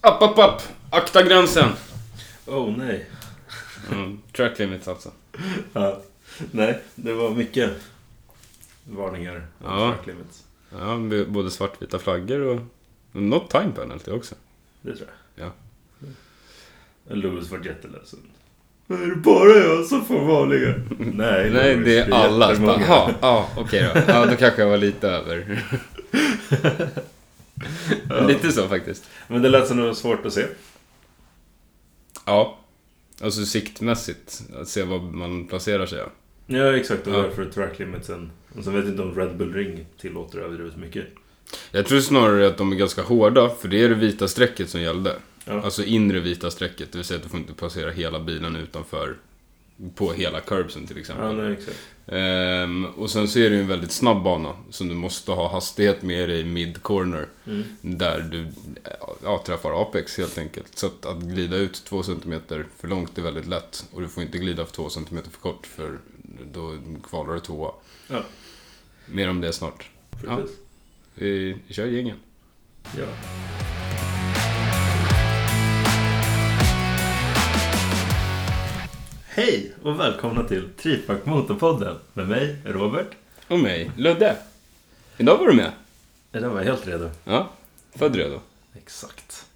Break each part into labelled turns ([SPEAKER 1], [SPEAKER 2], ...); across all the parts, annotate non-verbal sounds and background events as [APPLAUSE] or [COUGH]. [SPEAKER 1] App, app, app! Akta gränsen!
[SPEAKER 2] Oh nej.
[SPEAKER 1] Mm, track limits alltså.
[SPEAKER 2] Ja. Nej, det var mycket varningar. om
[SPEAKER 1] Ja.
[SPEAKER 2] track limits.
[SPEAKER 1] Ja, b- både svartvita flaggor och... Något time penalty också.
[SPEAKER 2] Det tror jag.
[SPEAKER 1] Ja.
[SPEAKER 2] Louis var jätteledsen. Är det bara jag som får varningar?
[SPEAKER 1] [LAUGHS]
[SPEAKER 2] Nej,
[SPEAKER 1] Nej,
[SPEAKER 2] Louis,
[SPEAKER 1] det är alla.
[SPEAKER 2] jättemånga.
[SPEAKER 1] Jaha, ja, okej då. Ja, då kanske jag var lite
[SPEAKER 2] [LAUGHS]
[SPEAKER 1] över. Lite så faktiskt.
[SPEAKER 2] Men det lät som det var svårt att se.
[SPEAKER 1] Ja. Alltså siktmässigt, att se var man placerar sig. Ja.
[SPEAKER 2] Ja, exakt. Och
[SPEAKER 1] Ja.
[SPEAKER 2] därför track limitsen. Och sen vet jag inte om Red Bull Ring tillåter överdrivet mycket.
[SPEAKER 1] Jag tror snarare att de är ganska hårda, för det är det vita strecket som gällde.
[SPEAKER 2] Ja.
[SPEAKER 1] Alltså inre vita strecket, det vill säga att du får inte placera hela bilen utanför, på hela curbsen till exempel.
[SPEAKER 2] Ja, nej, exakt.
[SPEAKER 1] Ehm, och sen så är det ju en väldigt snabb bana som du måste ha hastighet med dig i mid-corner.
[SPEAKER 2] Mm.
[SPEAKER 1] Där du ja, träffar Apex helt enkelt. Så att, att glida ut två centimeter för långt är väldigt lätt. Och du får inte glida för två centimeter för kort för då kvalar du tvåa.
[SPEAKER 2] Ja.
[SPEAKER 1] Mer om det snart. Ja.
[SPEAKER 2] Precis.
[SPEAKER 1] Vi kör gängen.
[SPEAKER 2] Ja. Hej och välkomna till Tripack Motorpodden med mig, Robert.
[SPEAKER 1] Och mig, Ludde. Idag var du med.
[SPEAKER 2] Ja, Den var jag helt redo.
[SPEAKER 1] Ja, född redo.
[SPEAKER 2] Exakt.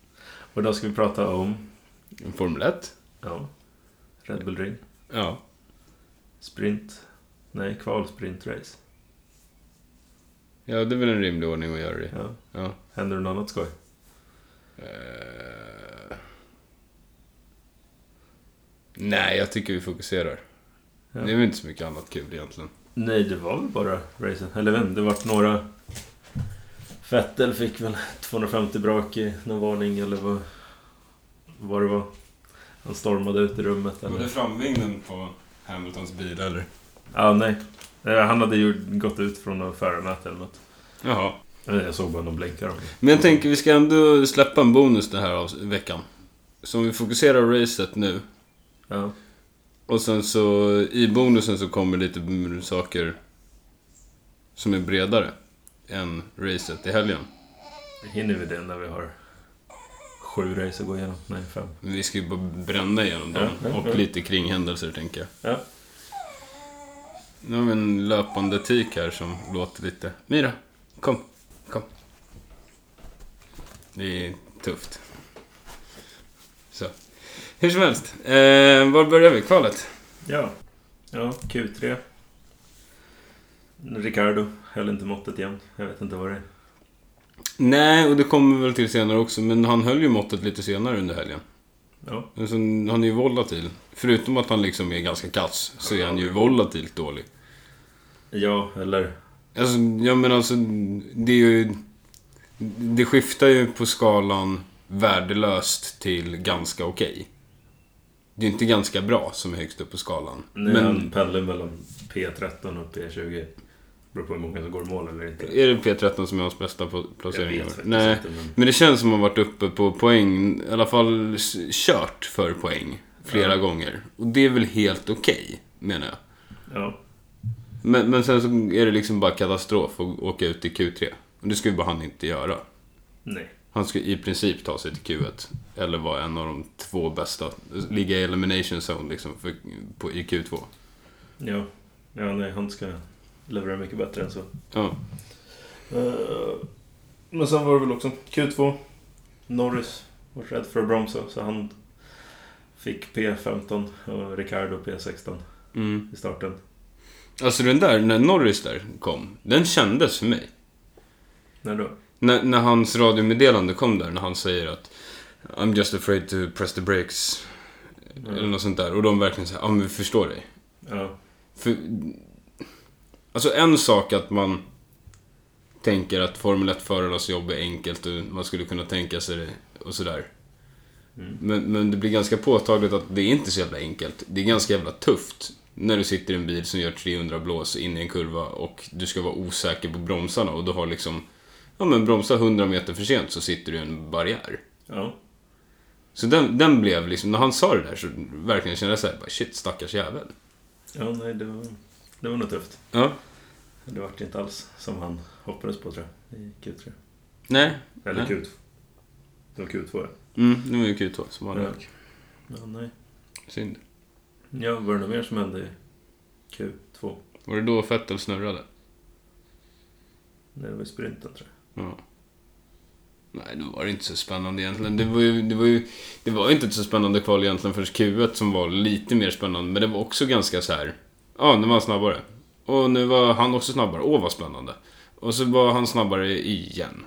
[SPEAKER 2] Och idag ska vi prata om
[SPEAKER 1] Formel 1.
[SPEAKER 2] ja, Red Bull Ring,
[SPEAKER 1] Ja.
[SPEAKER 2] sprint, nej, kval, sprint, race.
[SPEAKER 1] ja, det är väl en rimlig ordning att göra det i.
[SPEAKER 2] Ja.
[SPEAKER 1] Ja.
[SPEAKER 2] Händer det något annat skoj?
[SPEAKER 1] Eh, Nej, jag tycker vi fokuserar.
[SPEAKER 2] Ja.
[SPEAKER 1] Det är väl inte så mycket annat kul egentligen.
[SPEAKER 2] Nej, det var väl bara racen. Eller vem, det vart några... Vettel fick väl 250 brak i någon varning eller vad, vad det var. Han stormade ut i rummet eller...
[SPEAKER 1] framvingen på Hamiltons bil eller?
[SPEAKER 2] Ja, nej. Eh, Han hade ju gått ut från något förarnät eller något.
[SPEAKER 1] Jaha.
[SPEAKER 2] Jag vet inte, Eh, Jag såg bara någon blinkar om
[SPEAKER 1] Men jag tänker vi ska ändå släppa en bonus den här avs- veckan. Så om vi fokuserar racet nu.
[SPEAKER 2] Ja,
[SPEAKER 1] Och sen så i bonusen så kommer lite m- saker som är bredare än racet i helgen.
[SPEAKER 2] hinner vi det när vi har sju race att gå igenom? Nej, fem.
[SPEAKER 1] Men vi ska ju bara bränna igenom dem.
[SPEAKER 2] Ja, ja, ja.
[SPEAKER 1] Och lite kringhändelser tänker jag.
[SPEAKER 2] Ja.
[SPEAKER 1] Nu har vi en löpande tik här som låter lite... Mira, kom. Kom. Det är tufft. Så. Hur som helst. Eh, var börjar vi? Kvalet?
[SPEAKER 2] Ja. Ja, Q3. Ricardo höll inte måttet igen. Jag vet inte vad det är.
[SPEAKER 1] Nej, och det kommer vi väl till senare också. Men han höll ju måttet lite senare under helgen.
[SPEAKER 2] Ja.
[SPEAKER 1] Alltså, han är ju volatil. Förutom att han liksom är ganska kass, så är han ju volatilt dålig.
[SPEAKER 2] Ja, eller...
[SPEAKER 1] Alltså, ja men alltså, det är ju... Det skiftar ju på skalan värdelöst till ganska okej. Det är inte ganska bra som är högst upp på skalan.
[SPEAKER 2] Nu är han
[SPEAKER 1] men
[SPEAKER 2] pendlar mellan P13 och P20. Beror på hur många som går i mål eller inte.
[SPEAKER 1] är det P13 som är hans bästa po- placering? i år?
[SPEAKER 2] faktiskt
[SPEAKER 1] Nej.
[SPEAKER 2] inte, men...
[SPEAKER 1] Men det känns som att han varit uppe på poäng, i alla fall s- kört för poäng flera gånger. Och det är väl helt okej, menar jag.
[SPEAKER 2] Ja.
[SPEAKER 1] Men, men sen så är det liksom bara katastrof att åka ut i Q3. Och det ska ju bara han inte göra.
[SPEAKER 2] Nej.
[SPEAKER 1] Han ska i princip ta sig till Q1. Eller vara en av de två bästa. Ligga i elimination zone liksom för, på, i Q2.
[SPEAKER 2] Ja. Ja, nej, han ska leverera mycket bättre än så.
[SPEAKER 1] Ja.
[SPEAKER 2] Eh, Men sen var det väl också Q2. Norris var rädd för att bromsa, så han fick P15 och Ricardo P16
[SPEAKER 1] Mm.
[SPEAKER 2] i starten.
[SPEAKER 1] Alltså den där, när Norris där kom. Den kändes för mig.
[SPEAKER 2] När då?
[SPEAKER 1] När, när hans radiomeddelande kom där, när han säger att I'm just afraid to press the brakes.
[SPEAKER 2] Mm.
[SPEAKER 1] Eller något sånt där. Och de verkligen säger, ja men vi förstår dig.
[SPEAKER 2] Ja.
[SPEAKER 1] För, alltså en sak att man tänker att Formel 1-förarnas jobb är enkelt och man skulle kunna tänka sig det och sådär.
[SPEAKER 2] Mm.
[SPEAKER 1] Men, men det blir ganska påtagligt att det är inte så jävla enkelt. Det är ganska jävla tufft när du sitter i en bil som gör 300 blås in i en kurva och du ska vara osäker på bromsarna och du har liksom... Ja men bromsa 100 meter för sent så sitter du i en barriär.
[SPEAKER 2] Ja.
[SPEAKER 1] Så den, den blev liksom, när han sa det där så verkligen kände jag såhär, bara, shit stackars jävel.
[SPEAKER 2] Ja, nej, det var, det var nog tufft.
[SPEAKER 1] Ja.
[SPEAKER 2] Det vart inte alls som han hoppades på, tror jag, i Q3.
[SPEAKER 1] Nej.
[SPEAKER 2] Eller
[SPEAKER 1] Nej.
[SPEAKER 2] Q2. Det var Q2 ja.
[SPEAKER 1] Mm, det var ju Q2 som var
[SPEAKER 2] Ja.
[SPEAKER 1] det.
[SPEAKER 2] ja nej.
[SPEAKER 1] Synd.
[SPEAKER 2] Ja, var det något mer som hände i Q2?
[SPEAKER 1] Var det då Fettel snurrade?
[SPEAKER 2] Nej, det var i sprinten tror jag.
[SPEAKER 1] Ja. Nej, då var det inte så spännande egentligen. Det var ju, det var ju det var ju inte ett så spännande kval egentligen för Q1 som var lite mer spännande. Men det var också ganska så här. Ja, nu var han snabbare. Och nu var han också snabbare. Åh, vad spännande. Och så var han snabbare igen.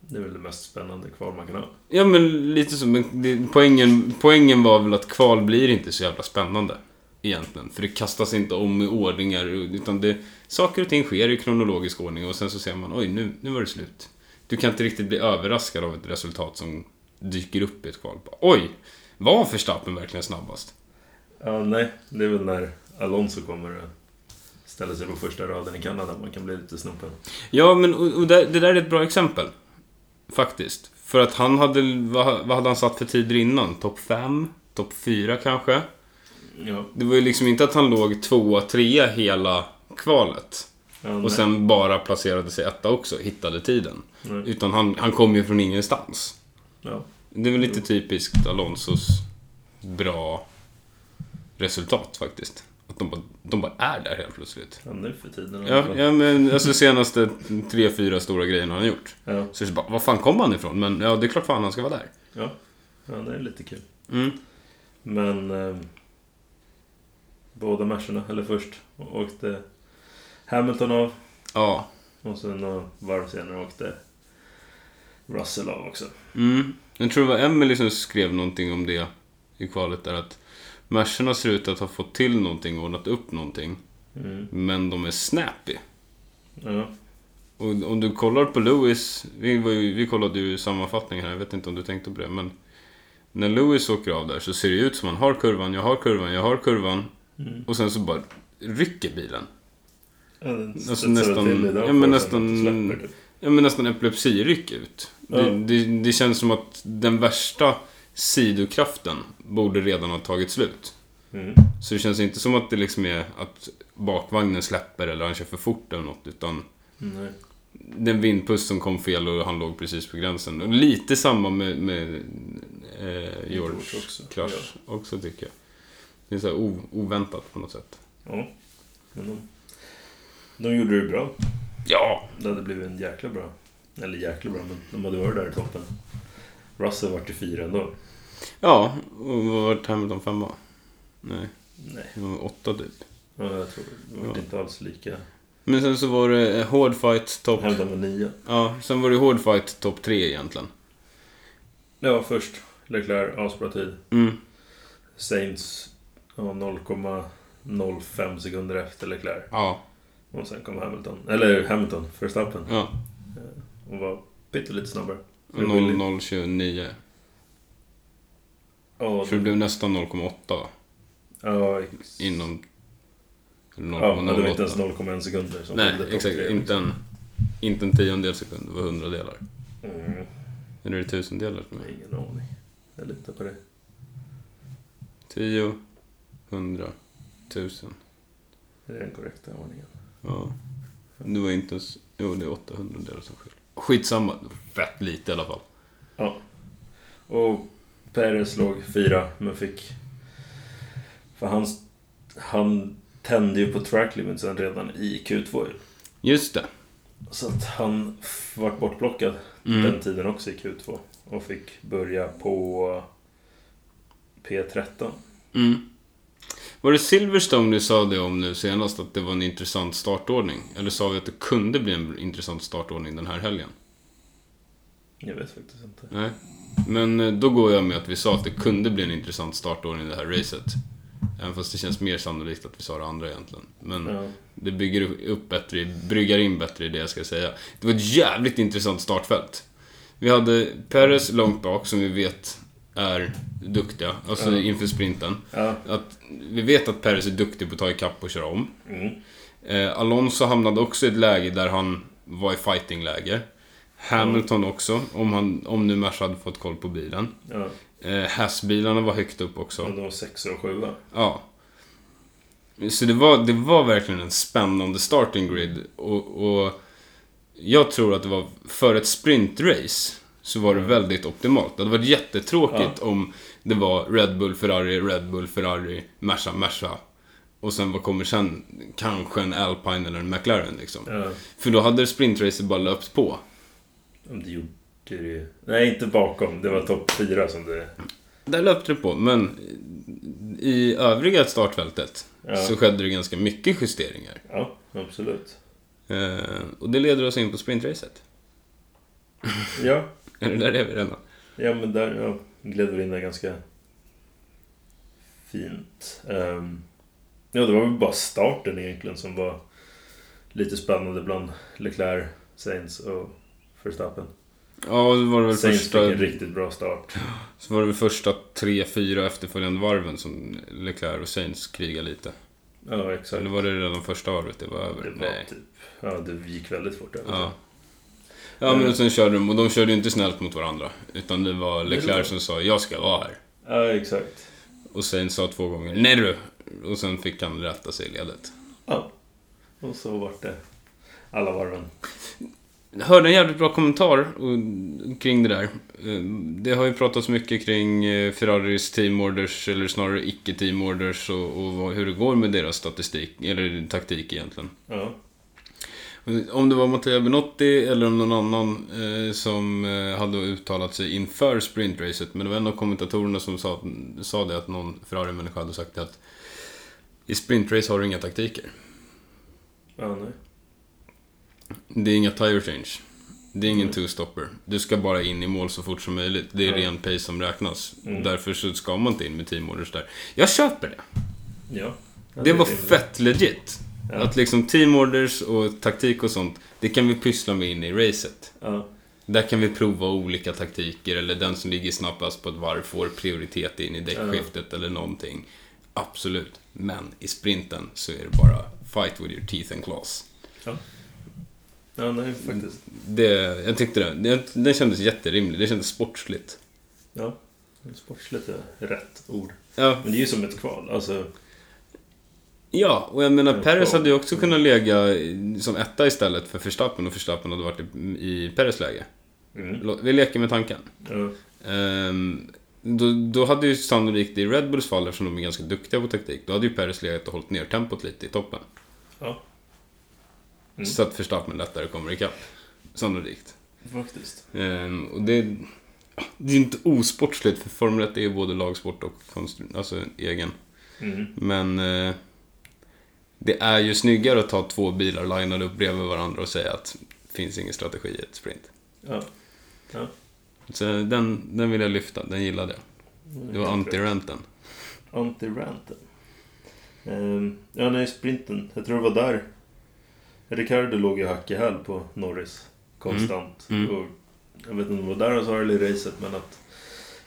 [SPEAKER 2] Det är väl det mest spännande kvar man kan ha.
[SPEAKER 1] Ja, men lite som... men det- Poängen, poängen var väl att kval blir inte så jävla spännande. Egentligen. För det kastas inte om i ordningar. Utan det, saker och ting sker i kronologisk ordning och sen så ser man oj, nu, nu var det slut. Du kan inte riktigt bli överraskad av ett resultat som dyker upp i ett kval. Bara, Oj! Var Verstappen verkligen snabbast?
[SPEAKER 2] Ja, nej. Det är väl när Alonso kommer och ställer sig på första raden i Kanada. Man kan bli lite snopen.
[SPEAKER 1] Ja, men och, och där, det där är ett bra exempel. Faktiskt. För att han hade... Vad, vad hade han satt för tider innan? Topp 5? Topp 4 kanske?
[SPEAKER 2] Ja,
[SPEAKER 1] Det var ju liksom inte att han låg tvåa, trea hela kvalet.
[SPEAKER 2] ja nej.
[SPEAKER 1] Och sen bara placerade sig etta också, hittade tiden.
[SPEAKER 2] nej.
[SPEAKER 1] Utan han, han kom ju från ingenstans.
[SPEAKER 2] Ja.
[SPEAKER 1] Det är väl lite typiskt Alonsos bra resultat faktiskt. Att de bara, de bara är där helt plötsligt.
[SPEAKER 2] ja, nu för tiden. i alla
[SPEAKER 1] Ja,
[SPEAKER 2] fall.
[SPEAKER 1] ja men alltså senaste tre, fyra stora grejerna han gjort.
[SPEAKER 2] ja.
[SPEAKER 1] Så det är så bara, var fan kom han ifrån? Men ja, det är klart fan han ska vara där.
[SPEAKER 2] Ja, ja det är lite kul.
[SPEAKER 1] Mm.
[SPEAKER 2] Men eh, båda matcherna, eller först, åkte Hamilton av
[SPEAKER 1] Ja.
[SPEAKER 2] och sen några varv senare åkte Russell av också.
[SPEAKER 1] Mm. Jag tror det var Emily som skrev någonting om det i kvalet där att Mercerna ser ut att ha fått till någonting, ordnat upp någonting.
[SPEAKER 2] Mm.
[SPEAKER 1] Men de är snappy.
[SPEAKER 2] Ja,
[SPEAKER 1] Och om du kollar på Lewis, vi, var ju, vi kollade ju sammanfattningen här, jag vet inte om du tänkte på det men När Lewis åker av där så ser det ut som han har kurvan, jag har kurvan, jag har kurvan
[SPEAKER 2] Mm.
[SPEAKER 1] och sen så bara rycker bilen.
[SPEAKER 2] Ja, den studsade
[SPEAKER 1] nästan-
[SPEAKER 2] till idag
[SPEAKER 1] ja, men
[SPEAKER 2] på
[SPEAKER 1] nästan-
[SPEAKER 2] den, släpper typ.
[SPEAKER 1] Ja men nästan epilepsiryck ut.
[SPEAKER 2] Ja.
[SPEAKER 1] Det, det, det känns som att den värsta sidokraften borde redan ha tagit slut.
[SPEAKER 2] Mm.
[SPEAKER 1] Så det känns inte som att det liksom är att bakvagnen släpper eller han kör för fort eller något utan
[SPEAKER 2] Nej.
[SPEAKER 1] den vindpust som kom fel och han låg precis på gränsen. Och lite samma med, med eh, George
[SPEAKER 2] George också,
[SPEAKER 1] Crush också tycker jag. Det är så här o, oväntat på något sätt.
[SPEAKER 2] Ja, men de, de gjorde det bra.
[SPEAKER 1] Ja!
[SPEAKER 2] Det hade blivit en jäkla bra, eller jäkla bra, men de hade varit där i toppen. Russell vart ju fyra ändå.
[SPEAKER 1] Ja, och vad var Hamilton femma? Nej,
[SPEAKER 2] Nej,
[SPEAKER 1] det var åtta typ.
[SPEAKER 2] ja, jag tror det vart
[SPEAKER 1] Ja.
[SPEAKER 2] inte alls lika
[SPEAKER 1] Men sen så var det eh, hård fight topp...
[SPEAKER 2] Hävda med nio.
[SPEAKER 1] Ja, sen var det hård fight topp tre egentligen.
[SPEAKER 2] Ja, först Leclerc, asbra tid.
[SPEAKER 1] Mm.
[SPEAKER 2] Saints ja, 0,05 sekunder efter Leclerc.
[SPEAKER 1] Ja,
[SPEAKER 2] Och sen kom Hamilton. Eller Hamilton, Verstappen.
[SPEAKER 1] ja.
[SPEAKER 2] Och var pyttelite snabbare. För det var ju-
[SPEAKER 1] 0029.
[SPEAKER 2] Ja,
[SPEAKER 1] För det
[SPEAKER 2] det-
[SPEAKER 1] blev nästan 0,8
[SPEAKER 2] ja, ex-
[SPEAKER 1] inom... eller
[SPEAKER 2] ja, det var inte
[SPEAKER 1] 0,08.
[SPEAKER 2] ens 0,1 sekunder som
[SPEAKER 1] Nej,
[SPEAKER 2] skilde topp
[SPEAKER 1] exakt.
[SPEAKER 2] tre.
[SPEAKER 1] Inte en, inte en tiondel sekund, det var hundradelar.
[SPEAKER 2] Mm,
[SPEAKER 1] Eller är det tusendelar?
[SPEAKER 2] jag har ingen aning. Jag litar på det.
[SPEAKER 1] Tio, hundra, tusen.
[SPEAKER 2] Det är den korrekta ordningen.
[SPEAKER 1] Ja. Det var inte ens... Jo, det är 800 delar som skiljer. Skitsamma, fett lite i alla fall.
[SPEAKER 2] Ja. Och Perez låg fyra, men fick... För han, han tände ju på track limitsen redan i Q2 ju.
[SPEAKER 1] Just det.
[SPEAKER 2] Så att han f- vart bortblockad den
[SPEAKER 1] Mm.
[SPEAKER 2] tiden också i Q2. Och fick börja på P13.
[SPEAKER 1] Mm. Var det Silverstone du sa det om nu senast, att det var en intressant startordning? Eller sa vi att det kunde bli en intressant startordning den här helgen?
[SPEAKER 2] Jag vet faktiskt inte.
[SPEAKER 1] Nej. Men eh, då går jag med att vi sa att det kunde bli en intressant startordning i det här racet. Även fast det känns mer sannolikt att vi sa det andra egentligen. Men
[SPEAKER 2] Ja,
[SPEAKER 1] det bygger upp bättre, bryggar in bättre i det jag ska säga. Det var ett jävligt intressant startfält. Vi hade Perez långt bak, som vi vet är duktiga, alltså
[SPEAKER 2] Ja.
[SPEAKER 1] inför sprinten.
[SPEAKER 2] ja.
[SPEAKER 1] Att vi vet att Perez är duktig på att ta ikapp och köra om.
[SPEAKER 2] Mm.
[SPEAKER 1] Eh, Alonso hamnade också i ett läge där han var i fightingläge. Hamilton också, om, han, om nu Merca hade fått koll på bilen.
[SPEAKER 2] ja.
[SPEAKER 1] Eh, Haas-bilarna var högt upp också.
[SPEAKER 2] Men de var sexa och sjua.
[SPEAKER 1] Ja. Så det var, det var verkligen en spännande starting grid. Och, och jag tror att det var för ett sprintrace så var det väldigt optimalt. Det hade varit jättetråkigt om det var Red Bull, Ferrari, Red Bull, Ferrari, Merca, Merca. Och sen vad kommer sen? Kanske en Alpine eller en McLaren liksom.
[SPEAKER 2] Ja.
[SPEAKER 1] För då hade sprintracet bara löpt på.
[SPEAKER 2] Om du gjorde det ju... Nej, inte bakom. Det var topp fyra som det...
[SPEAKER 1] Där löpte det på, men i övriga startfältet
[SPEAKER 2] Ja.
[SPEAKER 1] så skedde det ganska mycket justeringar.
[SPEAKER 2] Ja, absolut.
[SPEAKER 1] Eh, och det leder oss in på sprintracet. [LAUGHS]
[SPEAKER 2] Ja,
[SPEAKER 1] Eller där är vi redan.
[SPEAKER 2] ja men där ja, gled vi in där ganska fint. Ehm, ja, det var väl bara starten egentligen som var lite spännande bland Leclerc, Sainz och Verstappen.
[SPEAKER 1] Ja, och så var det väl
[SPEAKER 2] Sainz
[SPEAKER 1] första...
[SPEAKER 2] fick en riktigt bra start.
[SPEAKER 1] Så var det väl första tre, fyra efterföljande varven som Leclerc och Sainz krigade lite.
[SPEAKER 2] Ja, exakt.
[SPEAKER 1] Eller var det redan första varvet det var över?
[SPEAKER 2] Det var typ... Ja, det gick väldigt fort. över.
[SPEAKER 1] Ja. Ja,
[SPEAKER 2] Eh.
[SPEAKER 1] men och sen körde de, och de körde ju inte snällt mot varandra. Utan det var Leclerc som sa “Jag ska vara här”.
[SPEAKER 2] ja exakt.
[SPEAKER 1] Och Sainz sa två gånger “Nej du!” Och sen fick han rätta sig i ledet.
[SPEAKER 2] Ja. Och så vart det alla varven.
[SPEAKER 1] Jag hörde en jävligt bra kommentar eh, kring det där. Eh, Det har ju pratats mycket kring eh, Ferraris team orders, eller snarare icke team orders, och, och vad- hur det går med deras statistik, eller taktik egentligen.
[SPEAKER 2] Ja.
[SPEAKER 1] Om det var Matteo Benotti eller om någon annan eh, som eh, hade uttalat sig inför sprintracet. Men det var en av kommentatorerna som sa, sa det att någon Ferrari-människa hade sagt att i sprintrace har du inga taktiker.
[SPEAKER 2] Ja, nej.
[SPEAKER 1] Det är inga tire change. Det är ingen
[SPEAKER 2] Mm.
[SPEAKER 1] two-stopper. Du ska bara in i mål så fort som möjligt. Det är
[SPEAKER 2] Ja.
[SPEAKER 1] ren pace som räknas.
[SPEAKER 2] Mm.
[SPEAKER 1] Därför så ska man inte in med team orders där. Jag köper det.
[SPEAKER 2] Ja. Ja,
[SPEAKER 1] Det var
[SPEAKER 2] är rimligt.
[SPEAKER 1] fett legit.
[SPEAKER 2] Ja.
[SPEAKER 1] Att liksom team orders och taktik och sånt, det kan vi pyssla med in i racet.
[SPEAKER 2] Ja.
[SPEAKER 1] Där kan vi prova olika taktiker eller den som ligger snabbast på ett varv får prioritet in i däckskiftet eller någonting. Absolut. Men i sprinten så är det bara fight with your teeth and claws.
[SPEAKER 2] ja, nej faktiskt.
[SPEAKER 1] Det, jag tyckte det, det, det kändes jätterimligt. Det kändes sportsligt.
[SPEAKER 2] Ja. Sportsligt är rätt ord.
[SPEAKER 1] Ja,
[SPEAKER 2] Men det är ju som ett kval. Alltså,
[SPEAKER 1] ja och jag menar
[SPEAKER 2] Ja,
[SPEAKER 1] Perez
[SPEAKER 2] bra.
[SPEAKER 1] hade ju också kunnat lägga i- som etta istället för Verstappen och Verstappen hade varit i, i Perez läge.
[SPEAKER 2] mm.
[SPEAKER 1] Lå- Vi leker med tanken.
[SPEAKER 2] ja.
[SPEAKER 1] Ehm, då, då hade ju sannolikt i Red Bulls fall, eftersom de är ganska duktiga på taktik, då hade ju Perez legat och hållit ner tempot lite i toppen.
[SPEAKER 2] Ja. Mm.
[SPEAKER 1] Så att Verstappen lättare kommer ikapp. Sannolikt.
[SPEAKER 2] faktiskt.
[SPEAKER 1] Ehm, och det, ja, det är ju inte osportsligt, för Formel 1 är ju både lagsport och konstru- alltså egen.
[SPEAKER 2] Mm.
[SPEAKER 1] Men eh, det är ju snyggare att ta två bilar linade upp bredvid varandra och säga att det finns ingen strategi i ett sprint.
[SPEAKER 2] Ja.
[SPEAKER 1] Så den, den vill jag lyfta, den gillade jag. Det var [LAUGHS] anti-renten.
[SPEAKER 2] Anti-ranten. Ehm, ja, nej, sprinten. Jag tror det var där. Ricardo låg ju hack i häl på Norris. Konstant.
[SPEAKER 1] Mm. Mm.
[SPEAKER 2] Och jag vet inte om det var där han sa det i racet, men att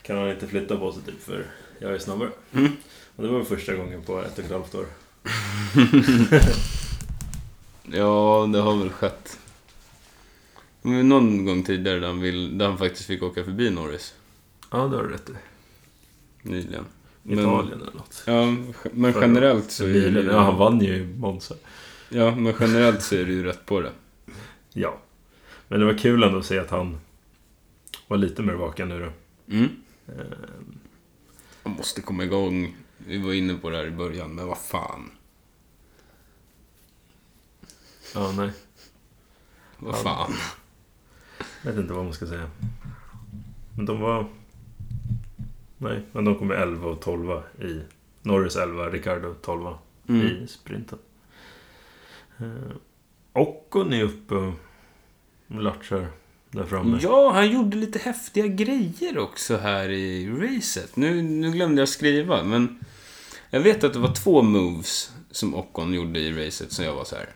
[SPEAKER 2] kan han inte flytta på sig typ för jag är snabbare.
[SPEAKER 1] Mm.
[SPEAKER 2] Och det var väl första gången på ett och ett halvt år.
[SPEAKER 1] Ja, det har väl skett. Men någon gång tidigare där han, vill, där han faktiskt fick åka förbi Norris.
[SPEAKER 2] Ja, det har du rätt i.
[SPEAKER 1] Nyligen. Men-
[SPEAKER 2] Italien eller något.
[SPEAKER 1] Ja, men generellt så är det ju...
[SPEAKER 2] Ja, han vann ju i Monza.
[SPEAKER 1] Ja, men generellt så är det ju rätt på det.
[SPEAKER 2] Ja. Men det var kul ändå att se att han var lite mer vaken nu då.
[SPEAKER 1] Mm.
[SPEAKER 2] Ehm,
[SPEAKER 1] Han måste komma igång. Vi var inne på det här i början, men vad fan.
[SPEAKER 2] Ja, nej.
[SPEAKER 1] Vad
[SPEAKER 2] Ja.
[SPEAKER 1] fan.
[SPEAKER 2] Jag vet inte vad man ska säga. Men de var... Nej, men de kom 11 och 12 i... Norris 11, Ricardo 12
[SPEAKER 1] Mm.
[SPEAKER 2] i sprinten. Eh, Ockon är uppe och latchar där framme.
[SPEAKER 1] Ja, han gjorde lite häftiga grejer också här i racet. Nu, nu glömde jag skriva, men... Jag vet att det var två moves som Ockon gjorde i racet som jag var så här.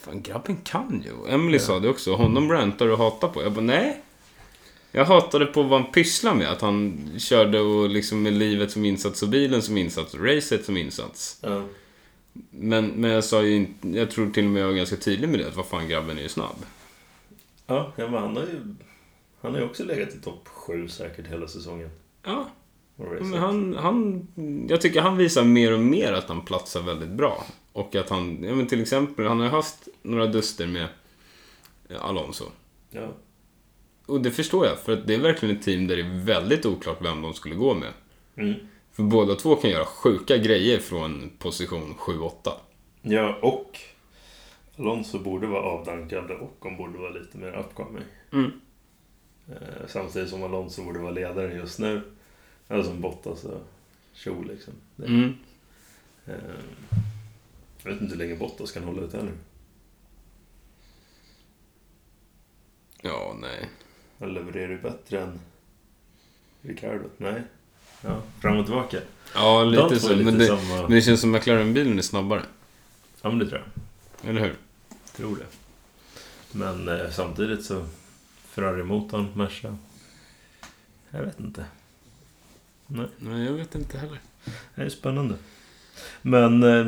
[SPEAKER 1] Fan, grabben kan ju. Emily
[SPEAKER 2] Ja.
[SPEAKER 1] sa det också. Honom rantar du och hatar på. Jag bara, nej. Jag hatade på vad han pysslar med. Att han körde och liksom med livet som insats och bilen som insats och racet som insats.
[SPEAKER 2] Ja.
[SPEAKER 1] Men, men jag sa ju inte, jag tror till och med jag var ganska tydlig med det. Att vad fan, grabben är ju snabb.
[SPEAKER 2] Ja, men han har ju... Han har ju också legat i topp 7 säkert hela säsongen.
[SPEAKER 1] Ja,
[SPEAKER 2] Och
[SPEAKER 1] Ja,
[SPEAKER 2] racet.
[SPEAKER 1] Men han, han, jag tycker han visar mer och mer att han platsar väldigt bra. Och att han, ja men till exempel, han har ju haft några duster med Alonso.
[SPEAKER 2] Ja.
[SPEAKER 1] och det förstår jag, för att det är verkligen ett team där det är väldigt oklart vem de skulle gå med.
[SPEAKER 2] Mm.
[SPEAKER 1] För båda två kan göra sjuka grejer från position 7-8.
[SPEAKER 2] Ja, och Alonso borde vara avdankad och hon borde vara lite mer upcoming.
[SPEAKER 1] Mm.
[SPEAKER 2] Eh, samtidigt som Alonso borde vara ledaren just nu. Eller som Bottas och Cho liksom. Det-
[SPEAKER 1] Mm.
[SPEAKER 2] Eh, jag vet inte hur länge Bottas kan hålla ut här nu.
[SPEAKER 1] Ja, nej.
[SPEAKER 2] Han levererar ju bättre än Ricardo. Nej. Ja, fram och tillbaka.
[SPEAKER 1] Ja,
[SPEAKER 2] De två
[SPEAKER 1] lite
[SPEAKER 2] är
[SPEAKER 1] så. Men det,
[SPEAKER 2] samma...
[SPEAKER 1] men det känns som McLaren-bilen är snabbare.
[SPEAKER 2] Ja, men det tror jag.
[SPEAKER 1] Eller hur?
[SPEAKER 2] Tror det. Men eh, samtidigt så... Ferrari-motorn, Merca. Jag vet inte.
[SPEAKER 1] Nej, jag vet inte heller.
[SPEAKER 2] Det är spännande. Men... eh,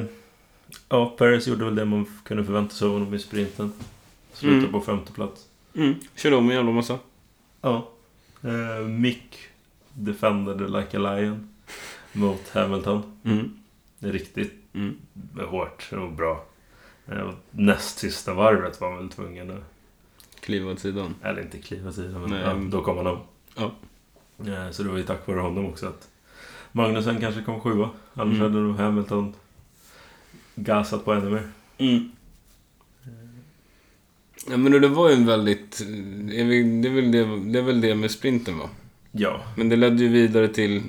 [SPEAKER 2] Ja, Paris gjorde väl det man f- kunde förvänta sig av honom i sprinten. Slutade
[SPEAKER 1] Mm.
[SPEAKER 2] på femte plats.
[SPEAKER 1] Mm. Körde om en jävla massa.
[SPEAKER 2] Ja. Eh, Mick defendade like a lion mot Hamilton.
[SPEAKER 1] Mm.
[SPEAKER 2] Det är Riktigt
[SPEAKER 1] Mm.
[SPEAKER 2] hårt och bra. Eh, och Näst sista varvet var han väl tvungen att...
[SPEAKER 1] Kliva åt sidan.
[SPEAKER 2] Eller inte kliva sidan, men
[SPEAKER 1] Nej.
[SPEAKER 2] ja, då kom han om.
[SPEAKER 1] Ja.
[SPEAKER 2] Eh, Så det var ju tack vare honom också att Magnusen kanske kom sjua. Annars
[SPEAKER 1] Mm.
[SPEAKER 2] hade nog Hamilton gasat på ännu mer.
[SPEAKER 1] Mm. Ja, men det var ju en väldigt... är vi- Det är, väl det, det är väl det med sprinten, va?
[SPEAKER 2] Ja,
[SPEAKER 1] Men det ledde ju vidare till,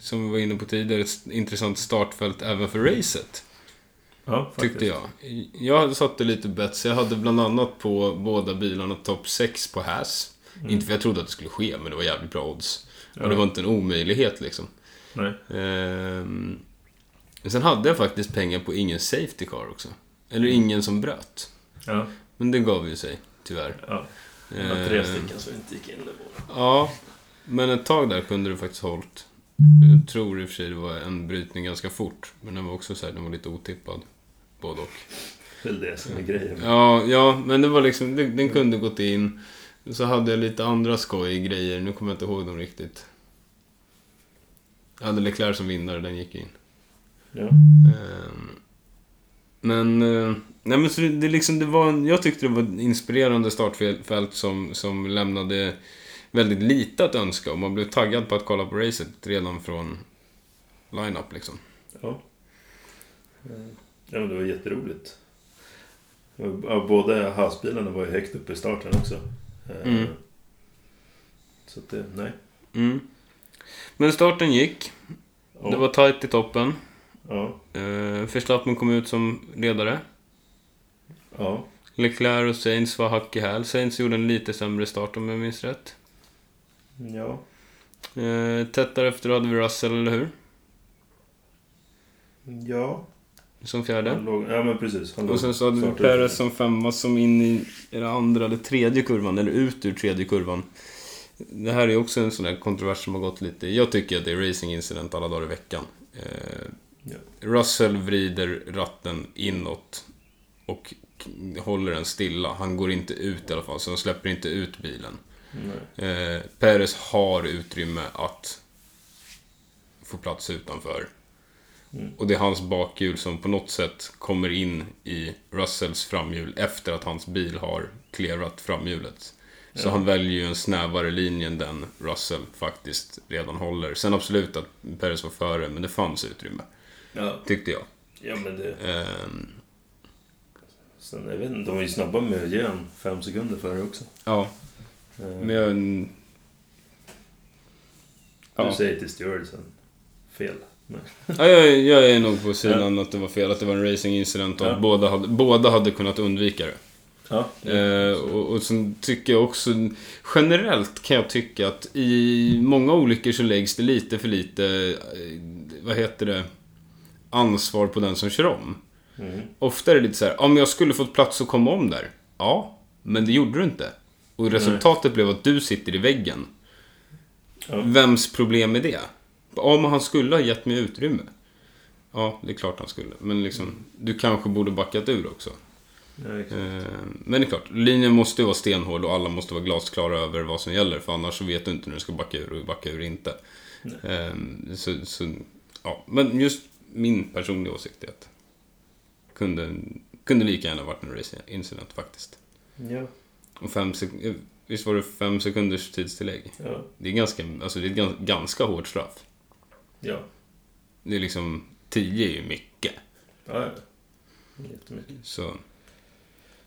[SPEAKER 1] som vi var inne på tidigare, ett intressant startfält även för racet.
[SPEAKER 2] ja faktiskt.
[SPEAKER 1] Tyckte jag. Jag satte lite bets. Jag hade bland annat på båda bilarna topp 6 på Haas.
[SPEAKER 2] Mm.
[SPEAKER 1] Inte för jag trodde att det skulle ske, men det var jävligt bra odds.
[SPEAKER 2] Ja.
[SPEAKER 1] Och det var inte en omöjlighet liksom.
[SPEAKER 2] Nej.
[SPEAKER 1] Ehm, men sen hade jag faktiskt pengar på ingen safety car också. Eller
[SPEAKER 2] Mm.
[SPEAKER 1] ingen som bröt.
[SPEAKER 2] Ja,
[SPEAKER 1] Men det gav ju sig, tyvärr.
[SPEAKER 2] ja. Det var tre
[SPEAKER 1] Ehm,
[SPEAKER 2] stycken som inte gick in det var.
[SPEAKER 1] Ja, men ett tag där kunde du faktiskt hållt. Jag tror i och för sig det var en brytning ganska fort. Men den var också så här, den var lite otippad. Både och.
[SPEAKER 2] Det är väl det som är grejen.
[SPEAKER 1] Ja, ja men det var liksom, den den kunde gått in. Så hade jag lite andra skoj grejer, nu kommer jag inte ihåg dem riktigt. Jag hade Leclerc som vinnare, den gick in.
[SPEAKER 2] Ja.
[SPEAKER 1] Ehm, Men, eh, nej men så det, det liksom, det var en, jag tyckte det var ett inspirerande startfält som, som lämnade väldigt lite att önska och man blev taggad på att kolla på racet redan från line-up liksom.
[SPEAKER 2] Ja. Ja, men det var jätteroligt. Ja, Båda hasbilarna var ju högt upp i starten också. Eh,
[SPEAKER 1] Mm.
[SPEAKER 2] Så att det, nej.
[SPEAKER 1] Mm. Men starten gick,
[SPEAKER 2] Ja,
[SPEAKER 1] det var tight i toppen.
[SPEAKER 2] ja,
[SPEAKER 1] Eh, Verstappen kom ut som ledare.
[SPEAKER 2] ja,
[SPEAKER 1] Leclerc och Sainz var hack i häl. Sainz gjorde en lite sämre start om jag minns rätt.
[SPEAKER 2] ja.
[SPEAKER 1] Eh, Tätt därefter hade vi Russell, eller hur?
[SPEAKER 2] Ja,
[SPEAKER 1] Som fjärde.
[SPEAKER 2] han låg, ja men precis. Han låg
[SPEAKER 1] Och sen så hade vi
[SPEAKER 2] startade-
[SPEAKER 1] Perez som femma som in i är det andra eller tredje kurvan, eller ut ur tredje kurvan. Det här är också en sån här kontrovers som har gått lite. Jag tycker att det är racing incident alla dagar i veckan. Eh,
[SPEAKER 2] Ja.
[SPEAKER 1] Russell vrider ratten inåt och k- håller den stilla. Han går inte ut i alla fall, så han släpper inte ut bilen.
[SPEAKER 2] Nej.
[SPEAKER 1] Eh, Perez har utrymme att få plats utanför.
[SPEAKER 2] Mm.
[SPEAKER 1] Och det är hans bakhjul som på något sätt kommer in i Russells framhjul efter att hans bil har clearat framhjulet. Så
[SPEAKER 2] Ja.
[SPEAKER 1] han väljer ju en snävare linje än den Russell faktiskt redan håller. Sen absolut att Perez var före, men det fanns utrymme.
[SPEAKER 2] Ja,
[SPEAKER 1] Tyckte jag.
[SPEAKER 2] ja men det...
[SPEAKER 1] Ehm,
[SPEAKER 2] Sen, jag vet inte, de var ju snabba med att ge han fem sekunder före också.
[SPEAKER 1] ja,
[SPEAKER 2] Eh,
[SPEAKER 1] men jag...
[SPEAKER 2] Du säger till stewardsen fel. Nej.
[SPEAKER 1] Ja, jag, jag är nog på sidan att det var fel, att det var en racingincident och att
[SPEAKER 2] Ja.
[SPEAKER 1] båda, hade, båda hade kunnat undvika det.
[SPEAKER 2] Ja,
[SPEAKER 1] Eh, och, och sen tycker jag också, generellt kan jag tycka att i många olyckor så läggs det lite för lite, eh, vad heter det, ansvar på den som kör om.
[SPEAKER 2] mm.
[SPEAKER 1] Ofta är det lite så här, ja men jag skulle fått plats att komma om där. Ja, men det gjorde du inte. Och resultatet blev att du sitter i väggen.
[SPEAKER 2] Ja.
[SPEAKER 1] Vems problem är det? Ja, men han skulle ha gett mig utrymme. Ja, det är klart han skulle. Men liksom, du kanske borde backat ur också.
[SPEAKER 2] ja, exakt.
[SPEAKER 1] Eh, Men det är klart, linjen måste ju vara stenhård och alla måste vara glasklara över vad som gäller. För annars så vet du inte när du ska backa ur och backa ur inte.
[SPEAKER 2] Nej.
[SPEAKER 1] Eh, Så, så, ja. Men just min personliga åsikt är att kunde, kunde lika gärna varit en racingincident faktiskt.
[SPEAKER 2] ja.
[SPEAKER 1] Och fem sek- eh, Visst var det fem sekunders tidstillägg?
[SPEAKER 2] Ja.
[SPEAKER 1] Det är ganska, alltså det är ett gans- ganska hårt straff.
[SPEAKER 2] Ja.
[SPEAKER 1] Det är liksom, 10 är ju mycket.
[SPEAKER 2] ja. ja. Jättemycket.
[SPEAKER 1] Så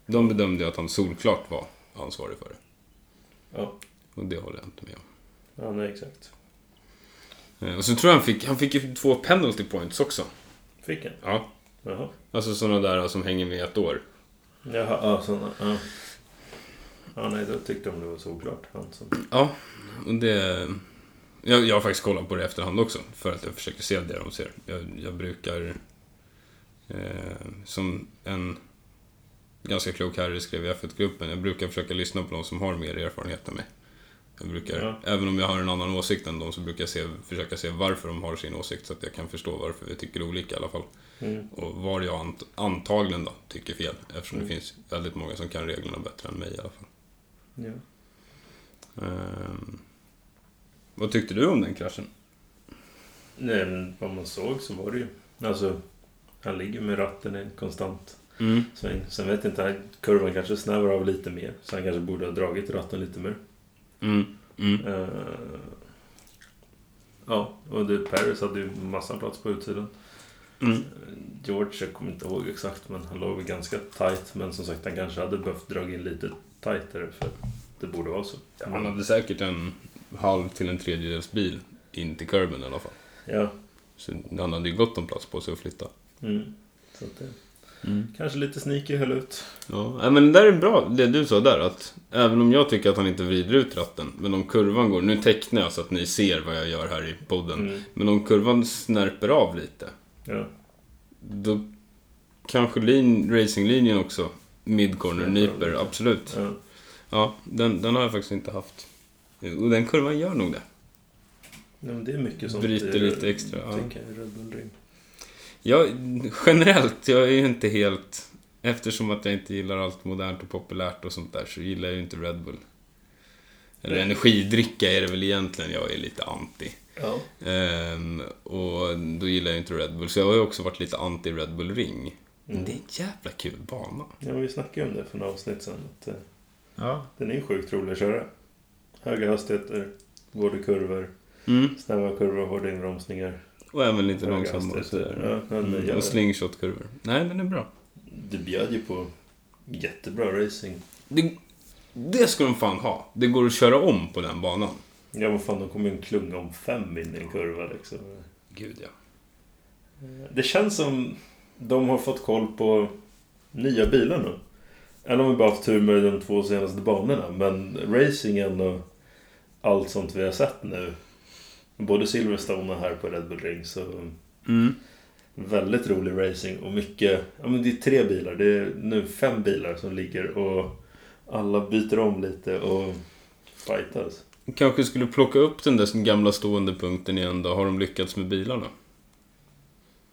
[SPEAKER 1] de bedömde ju att han solklart var ansvarig för det.
[SPEAKER 2] Ja.
[SPEAKER 1] Och det håller jag inte med om.
[SPEAKER 2] Ja, nej exakt.
[SPEAKER 1] Eh, Och så tror jag han fick, han fick ju två penalty points också.
[SPEAKER 2] Fick han?
[SPEAKER 1] Ja.
[SPEAKER 2] Jaha.
[SPEAKER 1] Alltså sådana där som hänger med ett år.
[SPEAKER 2] Jaha, ja sådana. Ja. ja, nej då tyckte de det var såklart. Han som...
[SPEAKER 1] Ja, och det... Jag, jag har faktiskt kollat på det i efterhand också, för att jag försöker se det de ser. Jag, jag brukar... Eh, som en ganska klok herre skrev i F1-gruppen, jag brukar försöka lyssna på de som har mer erfarenhet än mig. Jag brukar,
[SPEAKER 2] Ja.
[SPEAKER 1] Även om jag har en annan åsikt än dem så brukar jag se, försöka se varför de har sin åsikt så att jag kan förstå varför vi tycker olika i alla fall.
[SPEAKER 2] Mm.
[SPEAKER 1] Och var jag ant, antagligen då tycker fel, eftersom det
[SPEAKER 2] Mm.
[SPEAKER 1] finns väldigt många som kan reglerna bättre än mig i alla fall.
[SPEAKER 2] Ja.
[SPEAKER 1] Ehm, vad tyckte du om den kraschen?
[SPEAKER 2] Nej, men vad man såg så var det ju... Alltså, han ligger med ratten i en konstant
[SPEAKER 1] Mm,
[SPEAKER 2] sväng. Sen vet jag inte, han- kurvan kanske snävar av lite mer. Så han kanske borde ha dragit ratten lite mer.
[SPEAKER 1] Mm. Mm.
[SPEAKER 2] Eh, ja, och det, Paris hade ju massa plats på utsidan.
[SPEAKER 1] Mm.
[SPEAKER 2] George, jag kommer inte ihåg exakt, men han låg väl ganska tight. Men som sagt, han kanske hade behövt dra in lite tightare för det borde vara så.
[SPEAKER 1] Han hade säkert en halv till en tredjedels bil in till kurben i alla fall.
[SPEAKER 2] Ja,
[SPEAKER 1] Så han hade ju gott om plats på sig att flytta.
[SPEAKER 2] mm. så att det,
[SPEAKER 1] Mm.
[SPEAKER 2] kanske lite sneaky höll ut.
[SPEAKER 1] Ja, nej, men det där är bra, det du sa där. Att även om jag tycker att han inte vrider ut ratten, men om kurvan går... Nu tecknar jag så att ni ser vad jag gör här i podden.
[SPEAKER 2] Mm.
[SPEAKER 1] Men om kurvan snärper av lite,
[SPEAKER 2] Ja,
[SPEAKER 1] då kanske lin, racinglinjen också, midcorner, nyper, absolut.
[SPEAKER 2] ja.
[SPEAKER 1] Ja, den, den har jag faktiskt inte haft. Och den kurvan gör nog det.
[SPEAKER 2] Nej, men det är mycket sånt.
[SPEAKER 1] Bryter
[SPEAKER 2] i-
[SPEAKER 1] lite extra, ja.
[SPEAKER 2] Tänker jag i Red Bull Ring.
[SPEAKER 1] Jag, generellt, jag är ju inte helt... Eftersom att jag inte gillar allt modernt och populärt och sånt där så gillar jag ju inte Red Bull. Eller
[SPEAKER 2] Nej.
[SPEAKER 1] energidricka är det väl egentligen jag är lite anti.
[SPEAKER 2] Ja.
[SPEAKER 1] Ehm, och då gillar jag ju inte Red Bull, så jag har ju också varit lite anti Red Bull Ring. Men
[SPEAKER 2] Mm.
[SPEAKER 1] det är en jävla kul bana.
[SPEAKER 2] ja, men vi snackade ju om det för några avsnitt sedan. Att, eh,
[SPEAKER 1] Ja.
[SPEAKER 2] den är ju sjukt rolig att köra. Höga hastigheter, både kurvor,
[SPEAKER 1] Mm.
[SPEAKER 2] snäva kurvor, hårda inbromsningar.
[SPEAKER 1] Och även lite
[SPEAKER 2] höga
[SPEAKER 1] långsammare och
[SPEAKER 2] hastigheter.
[SPEAKER 1] sådär.
[SPEAKER 2] Ja, men det,
[SPEAKER 1] Mm. Och
[SPEAKER 2] gör,
[SPEAKER 1] slingshotkurvor. Nej, den är bra.
[SPEAKER 2] det bjöd ju på jättebra racing.
[SPEAKER 1] Det, det ska de fan ha. Det går att köra om på den banan.
[SPEAKER 2] Ja, vad fan, de kommer ju en klunga om fem in i en kurva liksom.
[SPEAKER 1] Gud ja.
[SPEAKER 2] Det känns som de har fått koll på nya bilar nu. Eller om vi bara haft tur med de två senaste banorna. Men racingen och allt sånt vi har sett nu. Både Silverstone och här på Red Bull Ring. Så
[SPEAKER 1] Mm.
[SPEAKER 2] väldigt rolig racing och mycket. Ja, men det är tre bilar. Det är nu fem bilar som ligger och alla byter om lite och fightas.
[SPEAKER 1] Kanske skulle plocka upp den där gamla stående punkten igen då. Har de lyckats med bilarna?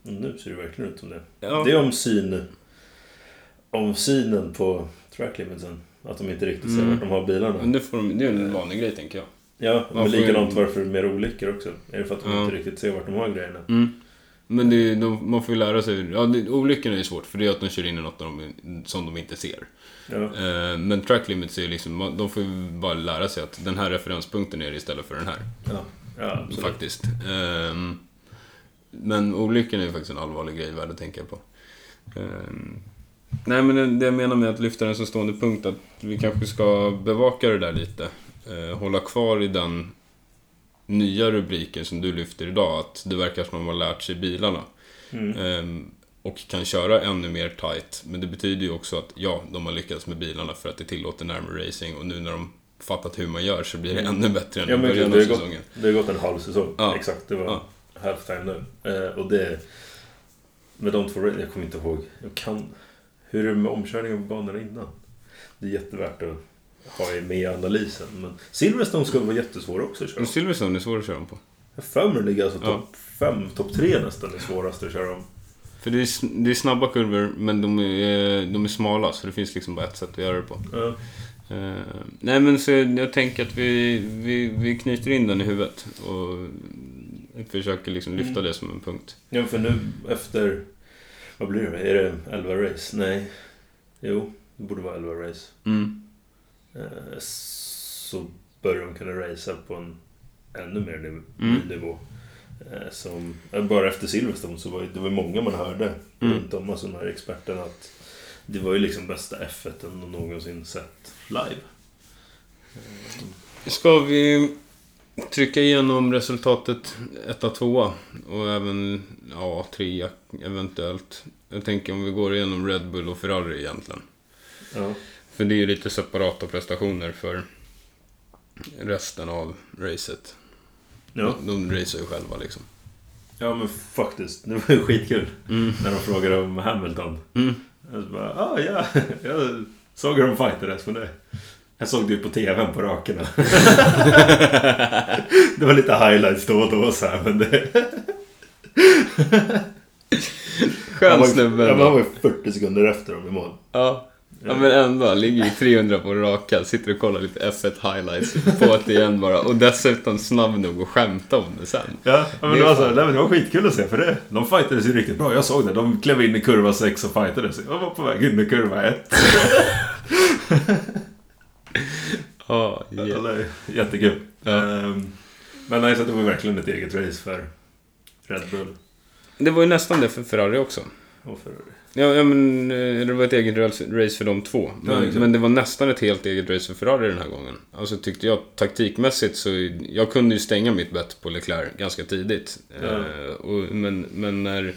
[SPEAKER 2] Nu ser det verkligen ut som det.
[SPEAKER 1] Ja.
[SPEAKER 2] Det är om syn. Om synen på track limitsen. Att de inte riktigt ser
[SPEAKER 1] Mm.
[SPEAKER 2] vart de har bilarna.
[SPEAKER 1] Men det, får de, det är ju
[SPEAKER 2] Eh.
[SPEAKER 1] en vanlig grej tänker jag.
[SPEAKER 2] Ja,
[SPEAKER 1] Man
[SPEAKER 2] men
[SPEAKER 1] får ju-
[SPEAKER 2] likadant varför det är mer olyckor också. Är det för att de
[SPEAKER 1] Ja.
[SPEAKER 2] inte riktigt ser vart de har grejerna?
[SPEAKER 1] Men det, är ju- de, man får ju lära sig. Ja, det, olyckorna är ju svårt för det är att de kör in i något de, som de inte ser.
[SPEAKER 2] Ja,
[SPEAKER 1] Eh, men track limits är ju liksom, man- de får ju bara lära sig att den här referenspunkten är det istället för den här.
[SPEAKER 2] ja. ja absolut.
[SPEAKER 1] Faktiskt. Ehm, men olyckan är ju faktiskt en allvarlig grej värd att tänka på. Ehm, nej, men det- det jag menar med att lyfta den som stående punkt, att vi kanske ska bevaka det där lite. Eh, hålla kvar i den nya rubriken som du lyfter idag, att det verkar som att de har lärt sig bilarna.
[SPEAKER 2] Mm.
[SPEAKER 1] Ehm, och kan köra ännu mer tight. Men det betyder ju också att ja, de har lyckats med bilarna för att det tillåter närmare racing och nu när de fattat hur man gör så blir det ännu bättre än
[SPEAKER 2] Mm. Ja,
[SPEAKER 1] i
[SPEAKER 2] men
[SPEAKER 1] början
[SPEAKER 2] det
[SPEAKER 1] av
[SPEAKER 2] har gått-
[SPEAKER 1] säsongen.
[SPEAKER 2] Det har gått en halv säsong.
[SPEAKER 1] Ja.
[SPEAKER 2] Exakt, det var
[SPEAKER 1] Ja.
[SPEAKER 2] halftime nu. Eh, och det... Med de två... Jag kommer inte ihåg. Jag kan... Hur är det med omkörningen på banorna innan? Det är jättevärt att ha med i analysen. Men Silverstone ska vara jättesvår också att köra.
[SPEAKER 1] Men Silverstone är svår att köra om på.
[SPEAKER 2] Jag för mig ligger alltså
[SPEAKER 1] Ja.
[SPEAKER 2] topp fem, topp tre nästan är svårast att köra om.
[SPEAKER 1] För det är, sn- det är snabba kurvor, men de är, eh, de är smala, så det finns liksom bara ett sätt att göra det på.
[SPEAKER 2] Ja.
[SPEAKER 1] Eh, nej, men så jag tänker att vi, vi, vi knyter in den i huvudet och försöker liksom lyfta det som en punkt.
[SPEAKER 2] Ja, för nu efter... Vad blir det? Är det 11 race? Nej. Jo, det borde vara 11 race.
[SPEAKER 1] Mm.
[SPEAKER 2] Eh, s- så börjar de kunna racea på en ännu mer niv-
[SPEAKER 1] Mm.
[SPEAKER 2] ny nivå. Eh, Som, eh, bara efter Silverstone så var ju- det var ju många man hörde
[SPEAKER 1] Mm.
[SPEAKER 2] runt om, alltså de här experterna, att det var ju liksom bästa F1 de någonsin sett live.
[SPEAKER 1] Ska vi trycka igenom resultatet 1 tvåa och även ja, trea eventuellt. Jag tänker om vi går igenom Red Bull och Ferrari egentligen.
[SPEAKER 2] Ja.
[SPEAKER 1] För det är ju lite separata prestationer för resten av racet.
[SPEAKER 2] Ja.
[SPEAKER 1] De racear ju själva liksom.
[SPEAKER 2] ja, men faktiskt. Det var ju skitkul när de frågade om Hamilton.
[SPEAKER 1] Mm.
[SPEAKER 2] Jag så bara, ah, ja, [LAUGHS] jag såg hur de fightades men det... Jag såg det ju på TVn på rakerna. [LAUGHS] det var lite highlights då och då så här, men det... Han
[SPEAKER 1] Skön
[SPEAKER 2] var ju-
[SPEAKER 1] snubbe.
[SPEAKER 2] Ja, men han var
[SPEAKER 1] ändå.
[SPEAKER 2] ju 40 sekunder efter dem i mål.
[SPEAKER 1] Ja. Ja men ändå, ligger ju 300 på raka, sitter och kollar lite F1 highlights på det igen bara och dessutom snabb nog att skämta om det sen.
[SPEAKER 2] Ja, ja, men det,
[SPEAKER 1] Det är
[SPEAKER 2] var så,
[SPEAKER 1] fan-
[SPEAKER 2] här, nej, men det var skitkul att se för det. De fightades ju riktigt bra. Jag såg det. De klev in i kurva 6 och fightades. Jag var på väg in i kurva 1.
[SPEAKER 1] Ja, yeah.
[SPEAKER 2] [LAUGHS] Eller, jättekul.
[SPEAKER 1] Ja.
[SPEAKER 2] Ehm, men nej, så det var verkligen ett eget race för Red Bull
[SPEAKER 1] Det var ju nästan det för Ferrari också.
[SPEAKER 2] och för...
[SPEAKER 1] Ja, ja men eh, det var ett eget race- race för de två.
[SPEAKER 2] Ja,
[SPEAKER 1] Men,
[SPEAKER 2] exakt.
[SPEAKER 1] men det var nästan ett helt eget race för Ferrari den här gången. Alltså tyckte jag taktikmässigt så... Jag kunde ju stänga mitt bett på Leclerc ganska tidigt.
[SPEAKER 2] Ja.
[SPEAKER 1] Eh, och, men, men när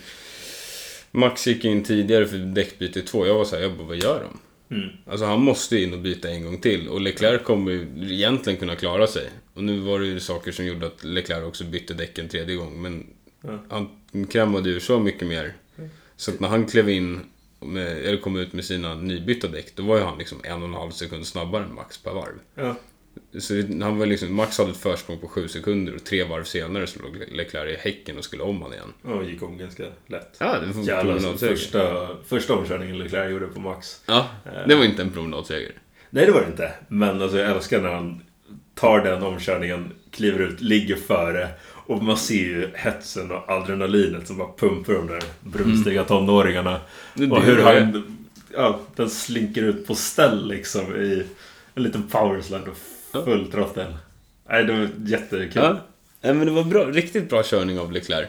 [SPEAKER 1] Max gick in tidigare för däckbyte två, jag var såhär, jag bara, vad gör de?
[SPEAKER 2] Mm.
[SPEAKER 1] Alltså han måste in och byta en gång till och Leclerc kommer ju egentligen kunna klara sig. Och nu var det ju saker som gjorde att Leclerc också bytte däck en tredje gång. Men
[SPEAKER 2] Ja. Mm.
[SPEAKER 1] han krämade ur så mycket mer. Så att när han klev in, med, eller kom ut med sina nybytta däck, då var ju han liksom en och en halv sekund snabbare än Max per varv.
[SPEAKER 2] Ja.
[SPEAKER 1] Så det- han var liksom, Max hade ett försprång på sju sekunder och tre varv senare så låg Leclerc i häcken och skulle om han igen.
[SPEAKER 2] Och gick om ganska lätt.
[SPEAKER 1] Ja, det var en
[SPEAKER 2] Jävlar, alltså,
[SPEAKER 1] promenadseger.
[SPEAKER 2] första, första omkörningen Leclerc gjorde på Max. Eh,
[SPEAKER 1] Ja, det var inte en promenadseger.
[SPEAKER 2] Nej, det var det inte. Men alltså, jag älskar när han tar den omkörningen, kliver ut, ligger före. Och man ser ju hetsen och adrenalinet som bara pumpar de där brunstiga tonåringarna.
[SPEAKER 1] Mm. Det
[SPEAKER 2] och
[SPEAKER 1] det
[SPEAKER 2] hur
[SPEAKER 1] var det.
[SPEAKER 2] han... Ja, den slinker ut på ställ liksom i en liten powerslide och full trottel. Nej, det var jättekul.
[SPEAKER 1] Ja. Nej, men det var bra, riktigt bra körning av Leclerc.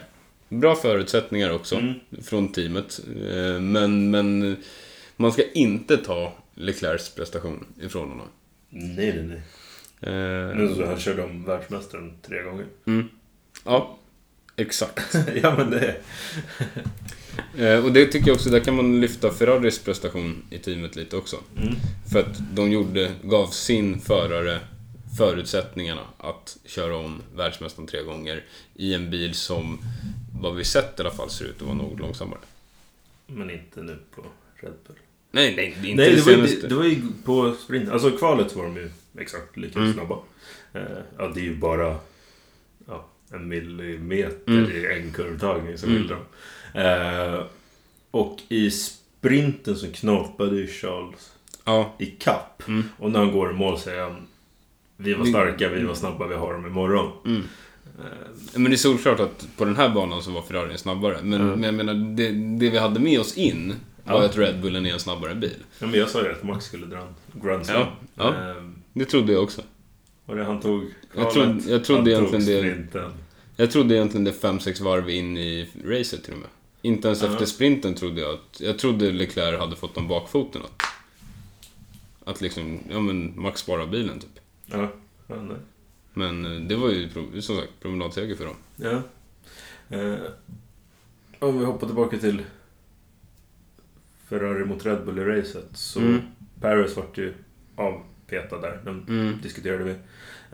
[SPEAKER 1] Bra förutsättningar också
[SPEAKER 2] Mm.
[SPEAKER 1] från teamet. Eh, Men, men man ska inte ta Leclercs prestation ifrån honom.
[SPEAKER 2] Nej, nej, nej.
[SPEAKER 1] Eh,
[SPEAKER 2] Nu så han körde om världsmästaren tre gånger. [LAUGHS]
[SPEAKER 1] Ja, exakt.
[SPEAKER 2] ja, men det...
[SPEAKER 1] Eh, Och det tycker jag också, där kan man lyfta Ferraris prestation i teamet lite också.
[SPEAKER 2] Mm.
[SPEAKER 1] För att de gjorde, gav sin förare förutsättningarna att köra om världsmästaren tre gånger i en bil som, vad vi sett i alla fall, ser ut att vara något långsammare.
[SPEAKER 2] Men inte nu på Red Bull.
[SPEAKER 1] Nej, nej, det är inte
[SPEAKER 2] Nej, det
[SPEAKER 1] det
[SPEAKER 2] var, ju,
[SPEAKER 1] senaste.
[SPEAKER 2] det var ju på sprint. Alltså kvalet var de ju exakt lika
[SPEAKER 1] Mm.
[SPEAKER 2] snabba. Eh, ja, det är ju bara ja, en millimeter
[SPEAKER 1] Mm.
[SPEAKER 2] i en kurvtagning som
[SPEAKER 1] Mm.
[SPEAKER 2] skiljer dem. Eh, och i sprinten så knapade ju Charles
[SPEAKER 1] Ja,
[SPEAKER 2] i kapp.
[SPEAKER 1] Mm.
[SPEAKER 2] Och när han går i mål säger han Vi var
[SPEAKER 1] Vi-
[SPEAKER 2] starka, vi var snabba, vi har dem imorgon.
[SPEAKER 1] Mm.
[SPEAKER 2] Eh,
[SPEAKER 1] Men det är solklart att på den här banan så var Ferrarin snabbare. Men,
[SPEAKER 2] Mm.
[SPEAKER 1] men jag menar, det, det vi hade med oss in var
[SPEAKER 2] Ja.
[SPEAKER 1] att Red Bullen är en snabbare bil.
[SPEAKER 2] ja, men jag sa ju att Max skulle dra en Grand Slam.
[SPEAKER 1] Ja, ja.
[SPEAKER 2] Eh,
[SPEAKER 1] Det trodde jag också.
[SPEAKER 2] och det han tog
[SPEAKER 1] Jag trodde-
[SPEAKER 2] kvalet,
[SPEAKER 1] jag trodde
[SPEAKER 2] han
[SPEAKER 1] egentligen
[SPEAKER 2] tog
[SPEAKER 1] det-
[SPEAKER 2] sprinten.
[SPEAKER 1] Jag trodde egentligen det 5-6 varv in i racet till och med. Inte ens
[SPEAKER 2] Ja.
[SPEAKER 1] efter sprinten trodde jag att... Jag trodde Leclerc hade fått om bakfoten. Att, att liksom, ja men Max sparar bilen typ.
[SPEAKER 2] Ja, ja, nej.
[SPEAKER 1] Men eh, det var ju pro- som sagt promenadseger för dem.
[SPEAKER 2] Ja. Eh, om vi hoppar tillbaka till Ferrari mot Red Bull i racet så
[SPEAKER 1] Mm.
[SPEAKER 2] Paris vart ju avpetad där. Den
[SPEAKER 1] Mm.
[SPEAKER 2] diskuterade vi. Eh,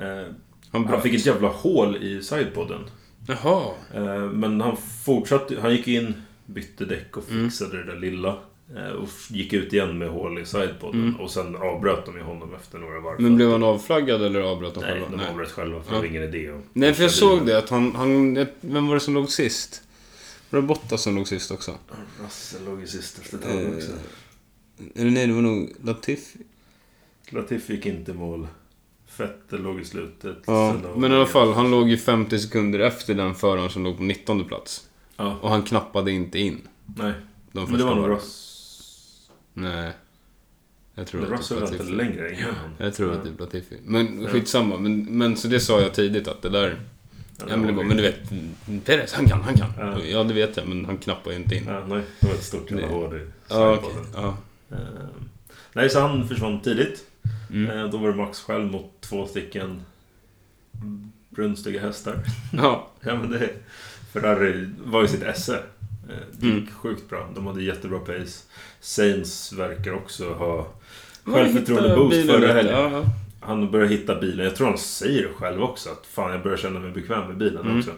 [SPEAKER 1] Han
[SPEAKER 2] han
[SPEAKER 1] bröt.
[SPEAKER 2] fick ett jävla hål i sidepodden.
[SPEAKER 1] Jaha.
[SPEAKER 2] Eh, men han fortsatte. Han gick in, bytte däck och
[SPEAKER 1] Mm.
[SPEAKER 2] fixade det där lilla. Eh, och f- gick ut igen med hål i sidepodden.
[SPEAKER 1] Mm.
[SPEAKER 2] Och sen avbröt de ju honom efter några varv.
[SPEAKER 1] Men blev han avflaggad eller avbröt han
[SPEAKER 2] Nej,
[SPEAKER 1] själva?
[SPEAKER 2] de avbröt själva för
[SPEAKER 1] Ja.
[SPEAKER 2] det var ingen idé om...
[SPEAKER 1] Nej, för jag såg det att han... han jag- vem var det som låg sist? Var det Bottas som låg sist också?
[SPEAKER 2] Russell låg ju sist efter ett tag också.
[SPEAKER 1] Eh, Eller nej, det var nog Latifi.
[SPEAKER 2] Latifi gick inte i mål. Fettel låg i slutet.
[SPEAKER 1] Ja,
[SPEAKER 2] Sen var
[SPEAKER 1] men i
[SPEAKER 2] det-
[SPEAKER 1] alla fall, han låg ju 50 sekunder efter den föraren som låg på 19 plats.
[SPEAKER 2] Ja,
[SPEAKER 1] Och han knappade inte in.
[SPEAKER 2] nej.
[SPEAKER 1] De
[SPEAKER 2] Men det var nog
[SPEAKER 1] varven.
[SPEAKER 2] Ross.
[SPEAKER 1] Nej. Jag tror
[SPEAKER 2] Men
[SPEAKER 1] att
[SPEAKER 2] Russell
[SPEAKER 1] det är
[SPEAKER 2] väntade
[SPEAKER 1] Latifi.
[SPEAKER 2] längre innan han...
[SPEAKER 1] Jag tror att det
[SPEAKER 2] Ja.
[SPEAKER 1] är Latifi. Men
[SPEAKER 2] Ja.
[SPEAKER 1] skitsamma. Men, men så det sa jag tidigt att det där...
[SPEAKER 2] Ja, det
[SPEAKER 1] Ja, men, det
[SPEAKER 2] var
[SPEAKER 1] var,
[SPEAKER 2] det.
[SPEAKER 1] men du vet, Perez, han kan, han kan.
[SPEAKER 2] Ja.
[SPEAKER 1] Ja, det vet jag, men han knappar ju inte in.
[SPEAKER 2] Ja, nej, det var ett stort jävla
[SPEAKER 1] Det-
[SPEAKER 2] hål i
[SPEAKER 1] Ja, okej.
[SPEAKER 2] sidbollen.
[SPEAKER 1] Ja.
[SPEAKER 2] Ehm, Nej, så han försvann tidigt.
[SPEAKER 1] Mm.
[SPEAKER 2] Ehm, Då var det Max själv mot två stycken brunstiga hästar.
[SPEAKER 1] Ja.
[SPEAKER 2] Ja, men det, Ferrari var ju sitt esse. Eh, Det gick
[SPEAKER 1] Mm.
[SPEAKER 2] sjukt bra. De hade jättebra pace. Sainz verkar också ha...
[SPEAKER 1] Ja,
[SPEAKER 2] Självförtroende-boost
[SPEAKER 1] bilen
[SPEAKER 2] förra
[SPEAKER 1] lite.
[SPEAKER 2] helgen.
[SPEAKER 1] Ja, ja.
[SPEAKER 2] Han börjar hitta bilen. Jag tror han säger det själv också. Att fan, jag börjar känna mig bekväm med bilen
[SPEAKER 1] Mm.
[SPEAKER 2] också.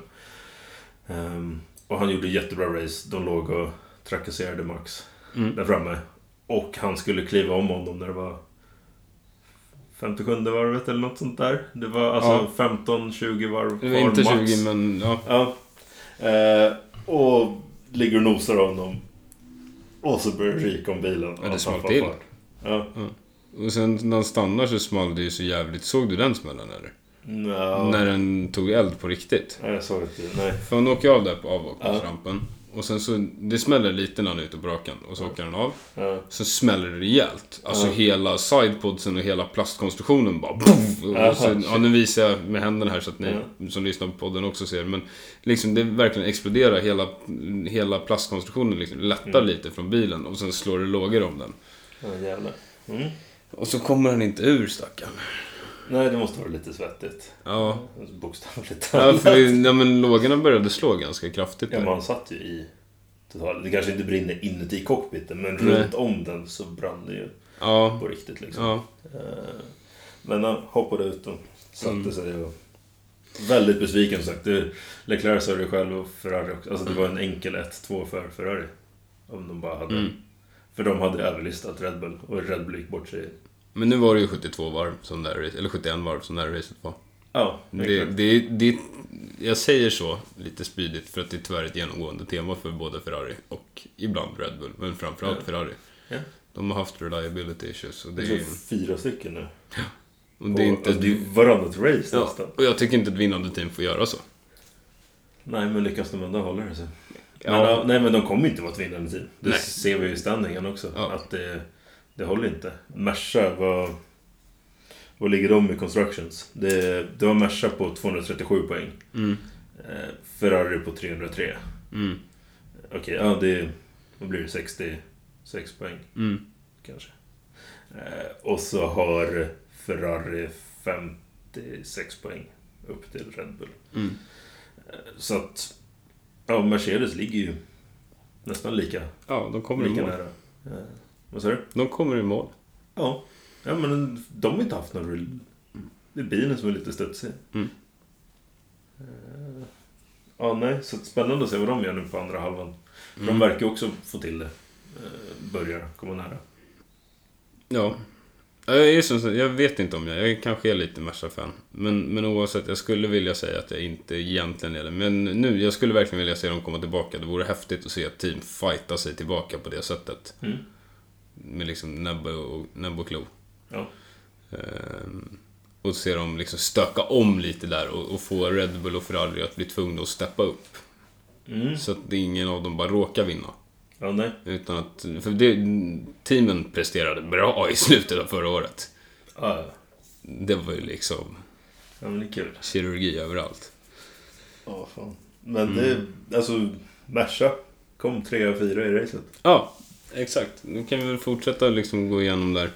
[SPEAKER 2] Ehm, och han gjorde jättebra race. De låg och trakasserade Max
[SPEAKER 1] Mm.
[SPEAKER 2] där framme. Och han skulle kliva om honom när det var 57 varvet eller något sånt där. Det var alltså 15-20 varv
[SPEAKER 1] Det var inte
[SPEAKER 2] max.
[SPEAKER 1] 20, men ja.
[SPEAKER 2] Ja. Eh, och ligger och nosar av honom. Och så börjar det ryka om bilen.
[SPEAKER 1] Ja, det
[SPEAKER 2] Och
[SPEAKER 1] small
[SPEAKER 2] tappar
[SPEAKER 1] till.
[SPEAKER 2] fart. Ja.
[SPEAKER 1] Och sen när han stannar så small det ju så jävligt. Såg du den smällen eller?
[SPEAKER 2] Nå.
[SPEAKER 1] När den tog eld på riktigt.
[SPEAKER 2] Nej, jag såg inte. Nej.
[SPEAKER 1] För han åker av där på
[SPEAKER 2] Ja.
[SPEAKER 1] avåkningsrampen. Och sen så, det smäller lite när han är ute på rakan. Och så åker han av.
[SPEAKER 2] Ja.
[SPEAKER 1] Sen smäller det rejält. Alltså
[SPEAKER 2] Ja.
[SPEAKER 1] hela sidepodsen och hela plastkonstruktionen bara boom!
[SPEAKER 2] Jaha,
[SPEAKER 1] Och sen, ja, nu visar jag med händerna här så att ni som lyssnar på podden också ser. Men liksom det verkligen exploderar. Hela, hela plastkonstruktionen liksom lättar lite från bilen och sen slår det lågor om den.
[SPEAKER 2] Ja, jävlar. Mm.
[SPEAKER 1] Och så kommer han inte ur stackaren.
[SPEAKER 2] Nej, det måste vara lite svettigt.
[SPEAKER 1] Ja.
[SPEAKER 2] Bokstavligt
[SPEAKER 1] Ja,
[SPEAKER 2] talat.
[SPEAKER 1] för, ja, men lågorna började slå ganska kraftigt
[SPEAKER 2] Ja,
[SPEAKER 1] där.
[SPEAKER 2] man satt ju i... total- Det kanske inte brinner inuti cockpiten, men
[SPEAKER 1] Nej.
[SPEAKER 2] runt om den så brann det ju
[SPEAKER 1] Ja.
[SPEAKER 2] på riktigt. Liksom.
[SPEAKER 1] Ja.
[SPEAKER 2] Eh, Men han hoppade ut och satte
[SPEAKER 1] Mm.
[SPEAKER 2] sig. Och... Väldigt besviken som sagt. Det- Leclerc sa det själv och Ferrari också. Alltså det var en enkel 1-2 för Ferrari. Om de bara hade...
[SPEAKER 1] Mm.
[SPEAKER 2] För de hade överlistat Red Bull och Red Bull gick bort sig.
[SPEAKER 1] Men nu var det ju 72 varv som det här, racet- eller 71 varv som det här racet var.
[SPEAKER 2] Ja,
[SPEAKER 1] Det,
[SPEAKER 2] exakt.
[SPEAKER 1] det, det, jag säger så lite spydigt för att det är tyvärr ett genomgående tema för både Ferrari och ibland Red Bull, men framförallt
[SPEAKER 2] Ja.
[SPEAKER 1] Ferrari.
[SPEAKER 2] Ja.
[SPEAKER 1] De har haft reliability issues och det,
[SPEAKER 2] Jag tror
[SPEAKER 1] är,
[SPEAKER 2] fyra stycken nu.
[SPEAKER 1] och det är
[SPEAKER 2] Och,
[SPEAKER 1] inte...
[SPEAKER 2] alltså, det är varannat race
[SPEAKER 1] ja,
[SPEAKER 2] nästan.
[SPEAKER 1] och jag tycker inte ett vinnande team får göra så.
[SPEAKER 2] Nej, men lyckas de ändå hålla det så.
[SPEAKER 1] Ja.
[SPEAKER 2] Men, ja, nej, men de kommer inte vara ett vinnande team. Det
[SPEAKER 1] Nej.
[SPEAKER 2] ser vi ju i standingen också.
[SPEAKER 1] Ja.
[SPEAKER 2] Att det, det håller inte. Merca, vad, vad ligger de i constructions? Det, det var Merca på 237 poäng.
[SPEAKER 1] Mm,
[SPEAKER 2] Eh, Ferrari på 303.
[SPEAKER 1] mm,
[SPEAKER 2] Okej, ja det... Då blir det 66 poäng
[SPEAKER 1] mm.
[SPEAKER 2] kanske. Eh, och så har Ferrari 56 poäng upp till Red Bull.
[SPEAKER 1] Mm.
[SPEAKER 2] Eh, så att... Ja, Mercedes ligger ju nästan lika
[SPEAKER 1] Ja, de kommer i
[SPEAKER 2] Lika
[SPEAKER 1] mål.
[SPEAKER 2] nära. Eh, Vad sa du?
[SPEAKER 1] De kommer i mål.
[SPEAKER 2] Ja. ja, men de har inte haft någon rull. Det är bilen som är lite studsig.
[SPEAKER 1] Mm.
[SPEAKER 2] Eh, Ja, nej, så spännande att se vad de gör nu på andra halvan.
[SPEAKER 1] Mm.
[SPEAKER 2] De verkar ju också få till det. Eh, Börjar komma nära.
[SPEAKER 1] Ja. Ja, Jag, är som, jag vet inte om jag, jag kanske är lite Merca-fan. Men, men oavsett, jag skulle vilja säga att jag inte egentligen är det. Men nu, jag skulle verkligen vilja se dem komma tillbaka. Det vore häftigt att se ett team fighta sig tillbaka på det sättet.
[SPEAKER 2] Mm.
[SPEAKER 1] Med liksom näbb och, näbb och klo.
[SPEAKER 2] Ja.
[SPEAKER 1] Ehm, och se dem liksom stöka om lite där och, och få Red Bull och Ferrari att bli tvungna att steppa upp.
[SPEAKER 2] Mm.
[SPEAKER 1] Så att ingen av dem bara råkar vinna.
[SPEAKER 2] Ja, nej.
[SPEAKER 1] Utan att... För det, teamen presterade bra i slutet av förra året.
[SPEAKER 2] Ja, ja.
[SPEAKER 1] Det var ju liksom
[SPEAKER 2] ja, men det är kul.
[SPEAKER 1] kirurgi överallt.
[SPEAKER 2] Ja, fan. Men det, alltså, Merca kom trea och fyra i racet.
[SPEAKER 1] Ja, exakt. Nu kan vi väl fortsätta liksom gå igenom där.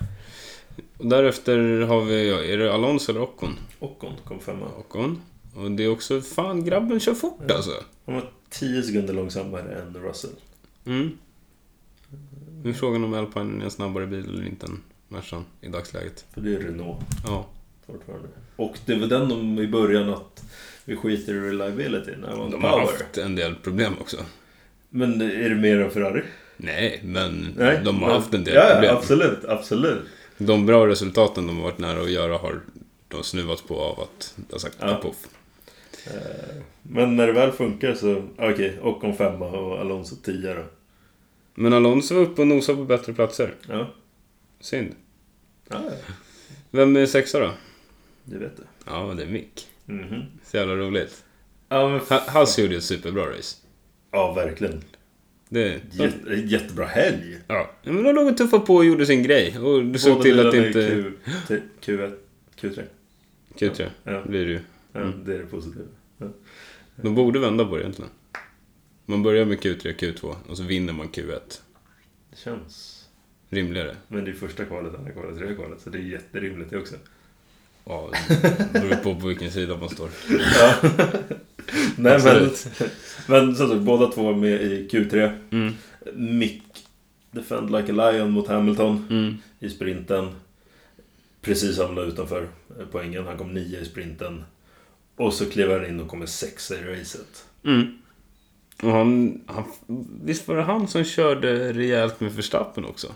[SPEAKER 1] Och därefter har vi, ja, är det Alonso eller Ocon?
[SPEAKER 2] Ocon kom femma.
[SPEAKER 1] Ocon. Och det är också, fan grabben kör fort alltså.
[SPEAKER 2] Han var 10 sekunder långsammare än Russell.
[SPEAKER 1] Mm. Nu är frågan om Alpine är en snabbare bil eller inte än Mercan i dagsläget.
[SPEAKER 2] För det är Renault.
[SPEAKER 1] Ja.
[SPEAKER 2] fortfarande. Och det var den de i början att vi skiter i reliability när man
[SPEAKER 1] De har
[SPEAKER 2] power.
[SPEAKER 1] haft en del problem också.
[SPEAKER 2] Men är det mer än Ferrari?
[SPEAKER 1] Nej, men de har
[SPEAKER 2] men-
[SPEAKER 1] haft en del
[SPEAKER 2] ja,
[SPEAKER 1] problem.
[SPEAKER 2] Ja, absolut, absolut.
[SPEAKER 1] De bra resultaten de har varit nära att göra har de snuvats på av att det har sagt
[SPEAKER 2] Ja.
[SPEAKER 1] poff.
[SPEAKER 2] Eh, Men när det väl funkar så, okej, och om femma och Alonso tio då.
[SPEAKER 1] Men Alonso var uppe och nosade på bättre platser.
[SPEAKER 2] Ja,
[SPEAKER 1] Synd.
[SPEAKER 2] ja ja,
[SPEAKER 1] Vem är sexa då?
[SPEAKER 2] det vet du.
[SPEAKER 1] Ja, det är Mick.
[SPEAKER 2] Mhm.
[SPEAKER 1] Mm-hmm. Så jävla roligt.
[SPEAKER 2] Ja, men
[SPEAKER 1] Ha- Haas gjorde ett superbra race.
[SPEAKER 2] ja, verkligen.
[SPEAKER 1] Det,
[SPEAKER 2] Jätte, jättebra helg!
[SPEAKER 1] ja. Men de låg och tuffade på och gjorde sin grej. Och du såg
[SPEAKER 2] Båda
[SPEAKER 1] till att
[SPEAKER 2] bilarna i
[SPEAKER 1] inte...
[SPEAKER 2] Q, t- Q1, Q3.
[SPEAKER 1] Kul tror
[SPEAKER 2] Ja.
[SPEAKER 1] jag. Blir du.
[SPEAKER 2] Ja,
[SPEAKER 1] Mm.
[SPEAKER 2] Det är det positiva.
[SPEAKER 1] De borde vända på det egentligen. Man börjar med Q3 och Q2 och så vinner man Q1.
[SPEAKER 2] Det känns...
[SPEAKER 1] Rimligare.
[SPEAKER 2] Men det är första kvalet, andra kvalet, tredje kvalet. Så det är jätterimligt det också.
[SPEAKER 1] Ja, det beror på på vilken sida man står. [LAUGHS]
[SPEAKER 2] Ja. Nej men,
[SPEAKER 1] Absolut.
[SPEAKER 2] men som sagt, båda två var med i Q3.
[SPEAKER 1] Mm.
[SPEAKER 2] Mick Defend Like a Lion mot Hamilton
[SPEAKER 1] Mm.
[SPEAKER 2] i sprinten. Precis hamnade utanför eh, poängen. Han kom nio i sprinten. Och så kliver han in och kommer sexa i racet.
[SPEAKER 1] Mm. Och han, han, visst var det han som körde rejält med Verstappen också?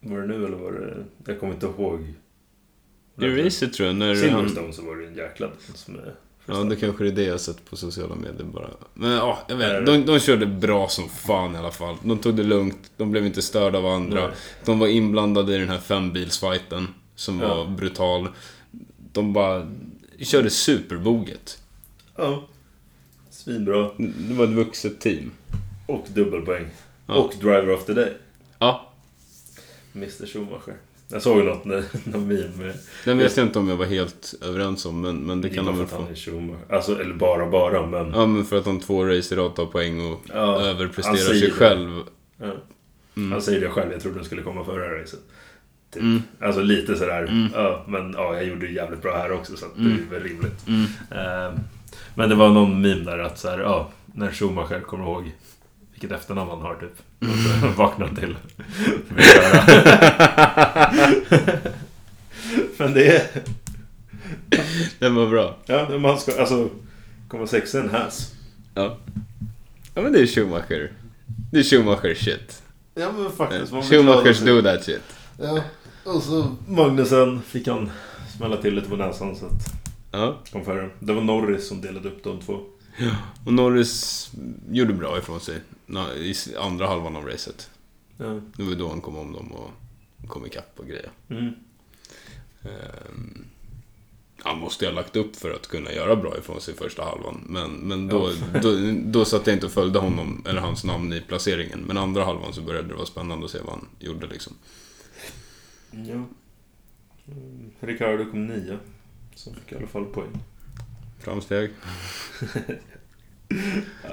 [SPEAKER 2] Var det nu eller var det... Jag kommer inte ihåg.
[SPEAKER 1] I racet tror jag, när han...
[SPEAKER 2] Silverstone så var det en jäkla dans med...
[SPEAKER 1] Ja, det kanske är det jag har sett på sociala medier bara. Men ja, jag
[SPEAKER 2] Där är
[SPEAKER 1] vet.
[SPEAKER 2] det.
[SPEAKER 1] De, de körde bra som fan i alla fall. De tog det lugnt, de blev inte störda av andra.
[SPEAKER 2] Nej.
[SPEAKER 1] De var inblandade i den här fembilsfighten som
[SPEAKER 2] Ja.
[SPEAKER 1] var brutal. De bara körde superboget.
[SPEAKER 2] Ja. Svinbra.
[SPEAKER 1] Det var ett vuxet team.
[SPEAKER 2] Och dubbelpoäng.
[SPEAKER 1] Ja.
[SPEAKER 2] Och driver of the day.
[SPEAKER 1] Ja,
[SPEAKER 2] Mr Schumacher. Jag såg något när, när [LAUGHS] meme med...
[SPEAKER 1] den vet jag inte om jag var helt överens om, men, men det kan han
[SPEAKER 2] man
[SPEAKER 1] väl
[SPEAKER 2] få.
[SPEAKER 1] få.
[SPEAKER 2] Han är Schumacher. Alltså, eller bara bara, men...
[SPEAKER 1] Ja, Ehm. men för att han två race i rad tar poäng och
[SPEAKER 2] Ja, han
[SPEAKER 1] överpresterar
[SPEAKER 2] säger
[SPEAKER 1] sig
[SPEAKER 2] det.
[SPEAKER 1] själv.
[SPEAKER 2] Ja. Alltså-
[SPEAKER 1] Mm.
[SPEAKER 2] Han säger det själv, jag trodde den skulle komma före det här racet. Typ.
[SPEAKER 1] Mm.
[SPEAKER 2] Alltså lite sådär,
[SPEAKER 1] Mm.
[SPEAKER 2] ja, men ja, jag gjorde det jävligt bra här också så att
[SPEAKER 1] Mm.
[SPEAKER 2] det är väl rimligt.
[SPEAKER 1] Mm.
[SPEAKER 2] Eh, men det var någon meme där att såhär, ja, när Schumacher kommer ihåg vilket efternamn han har typ.
[SPEAKER 1] Mm.
[SPEAKER 2] Och så [LAUGHS] vaknar
[SPEAKER 1] [LAUGHS]
[SPEAKER 2] han till. Vill köra. [LAUGHS] men det är...
[SPEAKER 1] Den var bra.
[SPEAKER 2] Ja, men man ska alltså... Komma sexa en häs.
[SPEAKER 1] Ja. ja, men det är Schumacher. Det är Schumacher shit.
[SPEAKER 2] Ja men faktiskt. man blir
[SPEAKER 1] Schumachers
[SPEAKER 2] glad.
[SPEAKER 1] do that shit.
[SPEAKER 2] Ja. Och så Magnusen fick han smälla till lite på näsan så att
[SPEAKER 1] Ja.
[SPEAKER 2] kom före. Det var Norris som delade upp de två.
[SPEAKER 1] Och Norris gjorde bra ifrån sig na- i s- andra halvan av racet.
[SPEAKER 2] Ja.
[SPEAKER 1] Det var då han kom om dem och kom ikapp och grejer.
[SPEAKER 2] Mm.
[SPEAKER 1] Ehm, Han måste ju ha lagt upp för att kunna göra bra ifrån sig första halvan. Men, men då, då, då satt jag inte och följde honom, eller hans namn, i placeringen. Men andra halvan så började det vara spännande att se vad han gjorde liksom.
[SPEAKER 2] ja. Mm, Ricardo kom nia. Så fick i alla fall poäng.
[SPEAKER 1] Framsteg.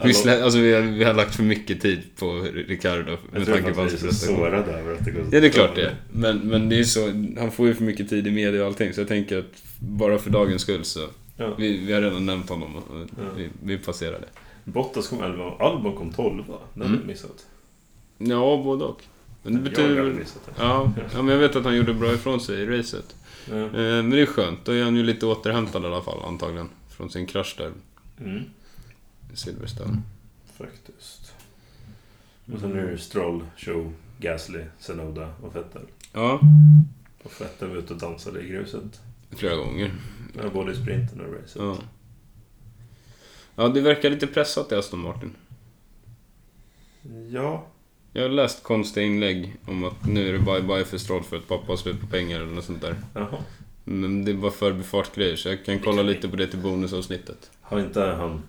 [SPEAKER 1] Vi, slä, alltså, vi, har, vi har lagt för mycket tid på Ricardo
[SPEAKER 2] Jag
[SPEAKER 1] med
[SPEAKER 2] tror
[SPEAKER 1] tanke
[SPEAKER 2] att
[SPEAKER 1] på
[SPEAKER 2] han är
[SPEAKER 1] hans
[SPEAKER 2] så
[SPEAKER 1] prestation.
[SPEAKER 2] sårad över att det går så
[SPEAKER 1] Ja, det är klart det
[SPEAKER 2] dåligt.
[SPEAKER 1] är. Men, men det är ju så, han får ju för mycket tid i media och allting. Så jag tänker att bara för dagens skull så,
[SPEAKER 2] Ja.
[SPEAKER 1] vi, vi har redan nämnt honom och
[SPEAKER 2] Ja.
[SPEAKER 1] vi, vi passerar det.
[SPEAKER 2] Bottas kom 11 och Albon kom 12 va? Den har
[SPEAKER 1] Mm.
[SPEAKER 2] jag missat.
[SPEAKER 1] Ja, både och. Men det
[SPEAKER 2] Jag
[SPEAKER 1] betyder
[SPEAKER 2] har
[SPEAKER 1] väl...
[SPEAKER 2] missat det.
[SPEAKER 1] Ja, ja, men jag vet att han gjorde bra ifrån sig i racet.
[SPEAKER 2] Ja.
[SPEAKER 1] Eh, men det är skönt, då är han ju lite återhämtad i alla fall antagligen. Från sin krasch där,
[SPEAKER 2] Mm.
[SPEAKER 1] i Silverstone.
[SPEAKER 2] Faktiskt. Och sen
[SPEAKER 1] Mm.
[SPEAKER 2] är det Stroll, Show, Gasly, Senoda och Vettel.
[SPEAKER 1] Ja,
[SPEAKER 2] Och Vettel var ute och dansade i gruset.
[SPEAKER 1] flera gånger.
[SPEAKER 2] Ja, Både i sprinten och racet.
[SPEAKER 1] Ja. ja, det verkar lite pressat i Aston Martin.
[SPEAKER 2] Ja.
[SPEAKER 1] Jag har läst konstiga inlägg om att nu är det bye-bye för Stroll för att pappa har slut på pengar eller något sånt där.
[SPEAKER 2] Jaha.
[SPEAKER 1] Men det är bara förbifartgrejer, så jag kan kolla lite på det till bonusavsnittet.
[SPEAKER 2] Har inte han...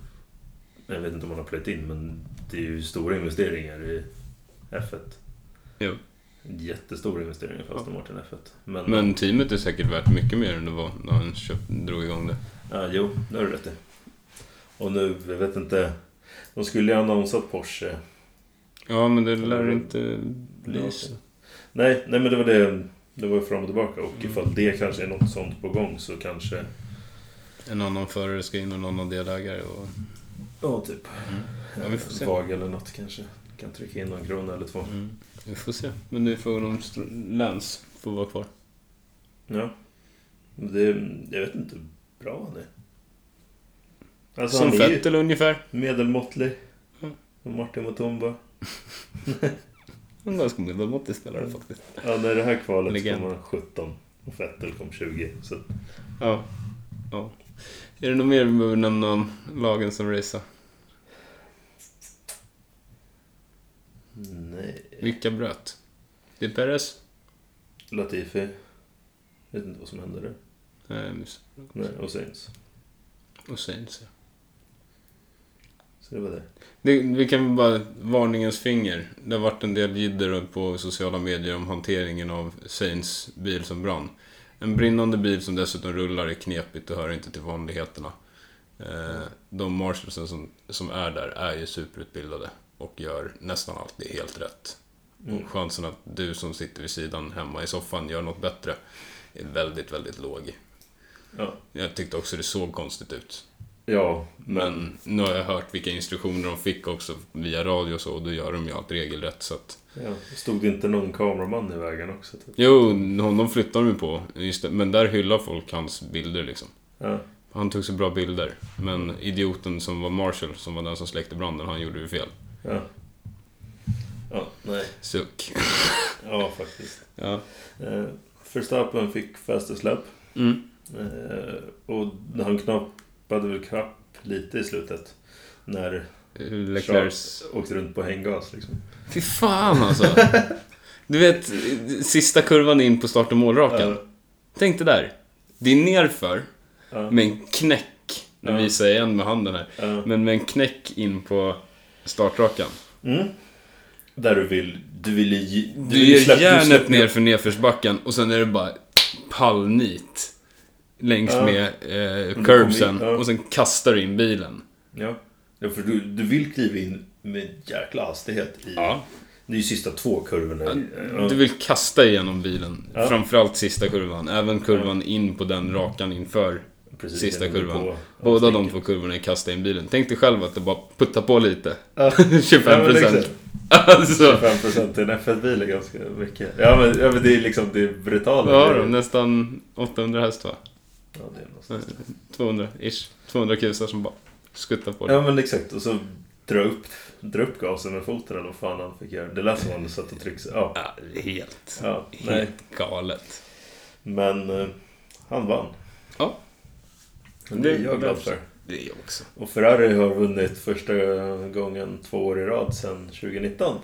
[SPEAKER 2] Jag vet inte om han har plöjt in, men det är ju stora investeringar i F1.
[SPEAKER 1] Jo.
[SPEAKER 2] Jättestora investeringar för Aston Martin F1. Men,
[SPEAKER 1] Men teamet är säkert värt mycket mer än det var när han köpt, drog igång det.
[SPEAKER 2] Ja, jo, det har du rätt i. Och nu, jag vet inte. De skulle ju ha annonsat Porsche.
[SPEAKER 1] Ja, men det
[SPEAKER 2] Mm.
[SPEAKER 1] lär inte bli så.
[SPEAKER 2] Nej, nej men det var det. Det var ju fram och tillbaka.
[SPEAKER 1] Mm.
[SPEAKER 2] Och ifall det kanske är något sånt på gång så kanske...
[SPEAKER 1] En annan förare ska in och en annan delägare och...
[SPEAKER 2] Ja, typ.
[SPEAKER 1] Ja, vi får se.
[SPEAKER 2] Vag eller något kanske. Kan trycka in någon krona eller två.
[SPEAKER 1] Mm. Vi får se. Men nu frågan om Str- Lance får vara kvar.
[SPEAKER 2] Ja. Men det, jag vet inte hur bra han är. Alltså
[SPEAKER 1] Som
[SPEAKER 2] han är ju
[SPEAKER 1] Vettel ungefär.
[SPEAKER 2] medelmåttlig.
[SPEAKER 1] Mm.
[SPEAKER 2] Och Martin Mutumba.
[SPEAKER 1] En ganska medelmåttig spelare faktiskt.
[SPEAKER 2] Ja, när det här kvalet
[SPEAKER 1] Legend.
[SPEAKER 2] kom han 17. Och Vettel kom 20. Så
[SPEAKER 1] Ja. ja. Är det något mer vi behöver nämna om lagen som racear?
[SPEAKER 2] nej.
[SPEAKER 1] Vilka bröt? Det är Perez?
[SPEAKER 2] Latifi. Vet inte vad som hände där.
[SPEAKER 1] eh, Nej, jag missade.
[SPEAKER 2] Nej, och Sainz.
[SPEAKER 1] Och Sainz. ja.
[SPEAKER 2] Så det var det.
[SPEAKER 1] Det, vi kan väl bara... Varningens finger. Det har varit en del jidder på sociala medier om hanteringen av Saints bil som brann. En brinnande bil som dessutom rullar är knepigt och hör inte till vanligheterna. Eh, de marshalsen som, som är där är ju superutbildade och gör nästan alltid helt rätt.
[SPEAKER 2] Mm.
[SPEAKER 1] Och chansen att du som sitter vid sidan hemma i soffan gör något bättre är väldigt, väldigt låg.
[SPEAKER 2] Ja.
[SPEAKER 1] Jag tyckte också det såg konstigt ut.
[SPEAKER 2] ja, men...
[SPEAKER 1] Men nu har jag hört vilka instruktioner de fick också via radio och så och då gör de ju allt regelrätt så att...
[SPEAKER 2] Ja. Stod det inte någon kameraman i vägen också? Typ?
[SPEAKER 1] Jo, honom flyttar de ju på. Just det. Men där hyllar folk hans bilder liksom.
[SPEAKER 2] Ja.
[SPEAKER 1] Han tog så bra bilder. Men idioten som var Marshall, som var den som släckte branden, han gjorde ju fel.
[SPEAKER 2] Ja. Ja, nej.
[SPEAKER 1] Suck.
[SPEAKER 2] Ja, faktiskt.
[SPEAKER 1] Ja.
[SPEAKER 2] Eh, Verstappen fick fastest lap.
[SPEAKER 1] Mm.
[SPEAKER 2] Eh, och han knappade väl kapp lite i slutet. När Mm.
[SPEAKER 1] Leclerc.
[SPEAKER 2] åkte runt på hänggas liksom.
[SPEAKER 1] Fy fan alltså. Du vet, sista kurvan in på start och målrakan.
[SPEAKER 2] Ja.
[SPEAKER 1] Tänk det där. Det är nerför,
[SPEAKER 2] Ja.
[SPEAKER 1] med en knäck. Nu
[SPEAKER 2] Ja.
[SPEAKER 1] visar jag igen med handen här.
[SPEAKER 2] Ja.
[SPEAKER 1] Men med en knäck in på startrakan.
[SPEAKER 2] Mm. Där du vill. Du vill ju...
[SPEAKER 1] Du,
[SPEAKER 2] vill
[SPEAKER 1] gör
[SPEAKER 2] släppa-
[SPEAKER 1] järnet
[SPEAKER 2] släpper-
[SPEAKER 1] ner för nedförsbacken och sen är det bara pallnit. Längs
[SPEAKER 2] Ja.
[SPEAKER 1] med eh, curbsen.
[SPEAKER 2] Ja.
[SPEAKER 1] Och sen kastar du in bilen.
[SPEAKER 2] Ja. ja, för du, du vill kliva in med jäkla hastighet i...
[SPEAKER 1] Ja.
[SPEAKER 2] Det är ju sista två kurvorna. Ja.
[SPEAKER 1] Du vill kasta igenom bilen.
[SPEAKER 2] Ja.
[SPEAKER 1] Framförallt sista kurvan. Även kurvan in på den rakan inför
[SPEAKER 2] Precis,
[SPEAKER 1] sista
[SPEAKER 2] innan du
[SPEAKER 1] kurvan.
[SPEAKER 2] går på
[SPEAKER 1] Båda de
[SPEAKER 2] avsticket.
[SPEAKER 1] två kurvorna är kasta in bilen. Tänk dig själv att det bara puttar på lite. [LAUGHS]
[SPEAKER 2] Ja.
[SPEAKER 1] 25
[SPEAKER 2] Ja, men
[SPEAKER 1] procent.
[SPEAKER 2] exakt.
[SPEAKER 1] alltså.
[SPEAKER 2] 25% i en F1-bil är ganska mycket. Ja men, ja, men det är liksom det är brutala.
[SPEAKER 1] Vad har
[SPEAKER 2] grejer.
[SPEAKER 1] de? Nästan 800 häst va?
[SPEAKER 2] Ja, det är någonstans.
[SPEAKER 1] 200-ish. 200 kusar som bara skuttar på det.
[SPEAKER 2] Ja men exakt. Och så dra upp, dra upp gasen med foten eller vad fan han fick göra. Det lät som han satt och tryckte. Ja.
[SPEAKER 1] Ja, helt,
[SPEAKER 2] ja nej.
[SPEAKER 1] helt galet.
[SPEAKER 2] Men eh, han vann.
[SPEAKER 1] Ja.
[SPEAKER 2] Men det är
[SPEAKER 1] Det-
[SPEAKER 2] jag glad för.
[SPEAKER 1] Det är jag också.
[SPEAKER 2] Och Ferrari har vunnit första gången två år i rad sedan 2019.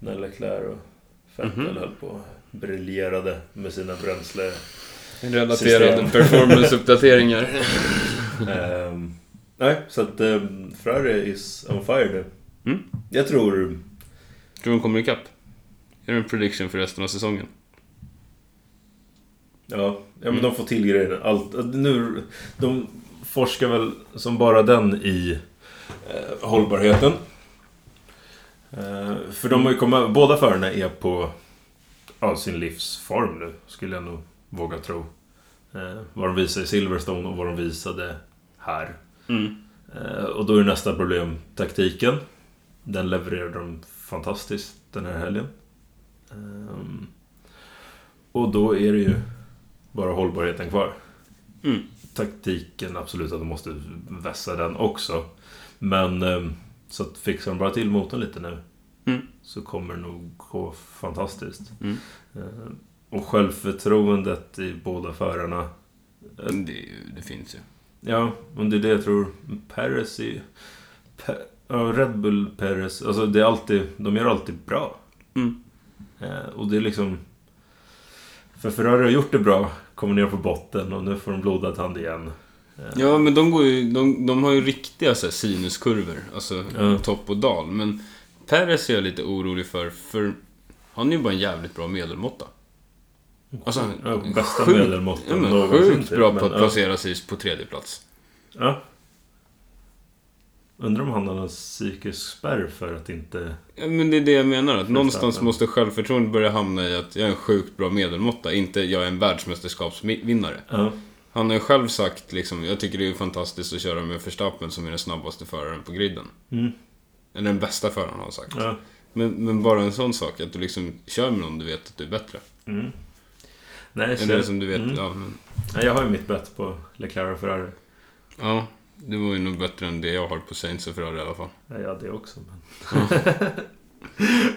[SPEAKER 2] När Leclerc och Vettel
[SPEAKER 1] Mhm.
[SPEAKER 2] höll på och briljerade med sina bränsle...
[SPEAKER 1] Relaterade
[SPEAKER 2] System.
[SPEAKER 1] performance-uppdateringar.
[SPEAKER 2] [LAUGHS] Ehm, nej, så att um, Ferrari is on fire nu.
[SPEAKER 1] Mm.
[SPEAKER 2] Jag tror...
[SPEAKER 1] Tror de kommer ikapp? Är det en prediction för resten av säsongen?
[SPEAKER 2] Ja, ja men
[SPEAKER 1] Mm.
[SPEAKER 2] de får till grejerna. Allt, nu, de forskar väl som bara den i eh, hållbarheten. Eh, för de har ju kommit, båda förarna är på ja, sin livsform nu, skulle jag nog våga tro. Eh, vad de visar i Silverstone och vad de visade här. Eh, och då är nästa problem taktiken. Den levererade de fantastiskt den här helgen. Ehm, och då är det ju bara hållbarheten kvar.
[SPEAKER 1] Mm.
[SPEAKER 2] Taktiken, absolut att de måste vässa den också. Men ehm, så att fixar de bara till motorn lite nu
[SPEAKER 1] Mm.
[SPEAKER 2] så kommer det nog gå fantastiskt.
[SPEAKER 1] Mm.
[SPEAKER 2] Ehm, och självförtroendet i båda förarna
[SPEAKER 1] Men Det, är ju- det finns ju.
[SPEAKER 2] Ja, men det är det jag tror. Perez är... Pe- ja, Red Bull, Perez. Alltså det är alltid... De gör alltid bra.
[SPEAKER 1] Mm.
[SPEAKER 2] Eh, och det är liksom... För Ferrari har gjort det bra, kommer ner på botten och nu får de blodad hand igen. Eh,
[SPEAKER 1] Ja, men de, går ju, de, de har ju riktiga så här, sinuskurvor. Alltså
[SPEAKER 2] Ja.
[SPEAKER 1] topp och dal. Men Perez är jag lite orolig för, för han är ju bara en jävligt bra medelmåtta. Alltså, han
[SPEAKER 2] Ja, bästa
[SPEAKER 1] sjukt-
[SPEAKER 2] medelmåttan
[SPEAKER 1] ja, men,
[SPEAKER 2] någonsin,
[SPEAKER 1] Sjukt
[SPEAKER 2] typ.
[SPEAKER 1] bra
[SPEAKER 2] Men,
[SPEAKER 1] på att
[SPEAKER 2] ja.
[SPEAKER 1] placera sig på tredje plats.
[SPEAKER 2] Ja. Undrar om han har någon psykisk spärr för att inte...
[SPEAKER 1] Ja, men det är det jag menar. Att någonstans
[SPEAKER 2] Verstappen.
[SPEAKER 1] måste självförtroendet börja hamna i att jag är en sjukt bra medelmåtta, inte jag är en världsmästerskapsvinnare.
[SPEAKER 2] Ja.
[SPEAKER 1] Han har ju själv sagt liksom, jag tycker det är fantastiskt att köra med Verstappen som är den snabbaste föraren på griden.
[SPEAKER 2] Mm.
[SPEAKER 1] Eller den bästa föraren har han sagt.
[SPEAKER 2] ja.
[SPEAKER 1] Men, men bara en sån sak, att du liksom kör med någon du vet att du är bättre.
[SPEAKER 2] Mm. Nej, så-
[SPEAKER 1] Eller som du vet,
[SPEAKER 2] Mm.
[SPEAKER 1] ja men...
[SPEAKER 2] Ja, jag har ju mitt bett på Leclerc och Ferrari.
[SPEAKER 1] Ja, det var ju nog bättre än det jag har på Saints och Ferrari i alla fall.
[SPEAKER 2] Ja, jag det också. Men... [LAUGHS]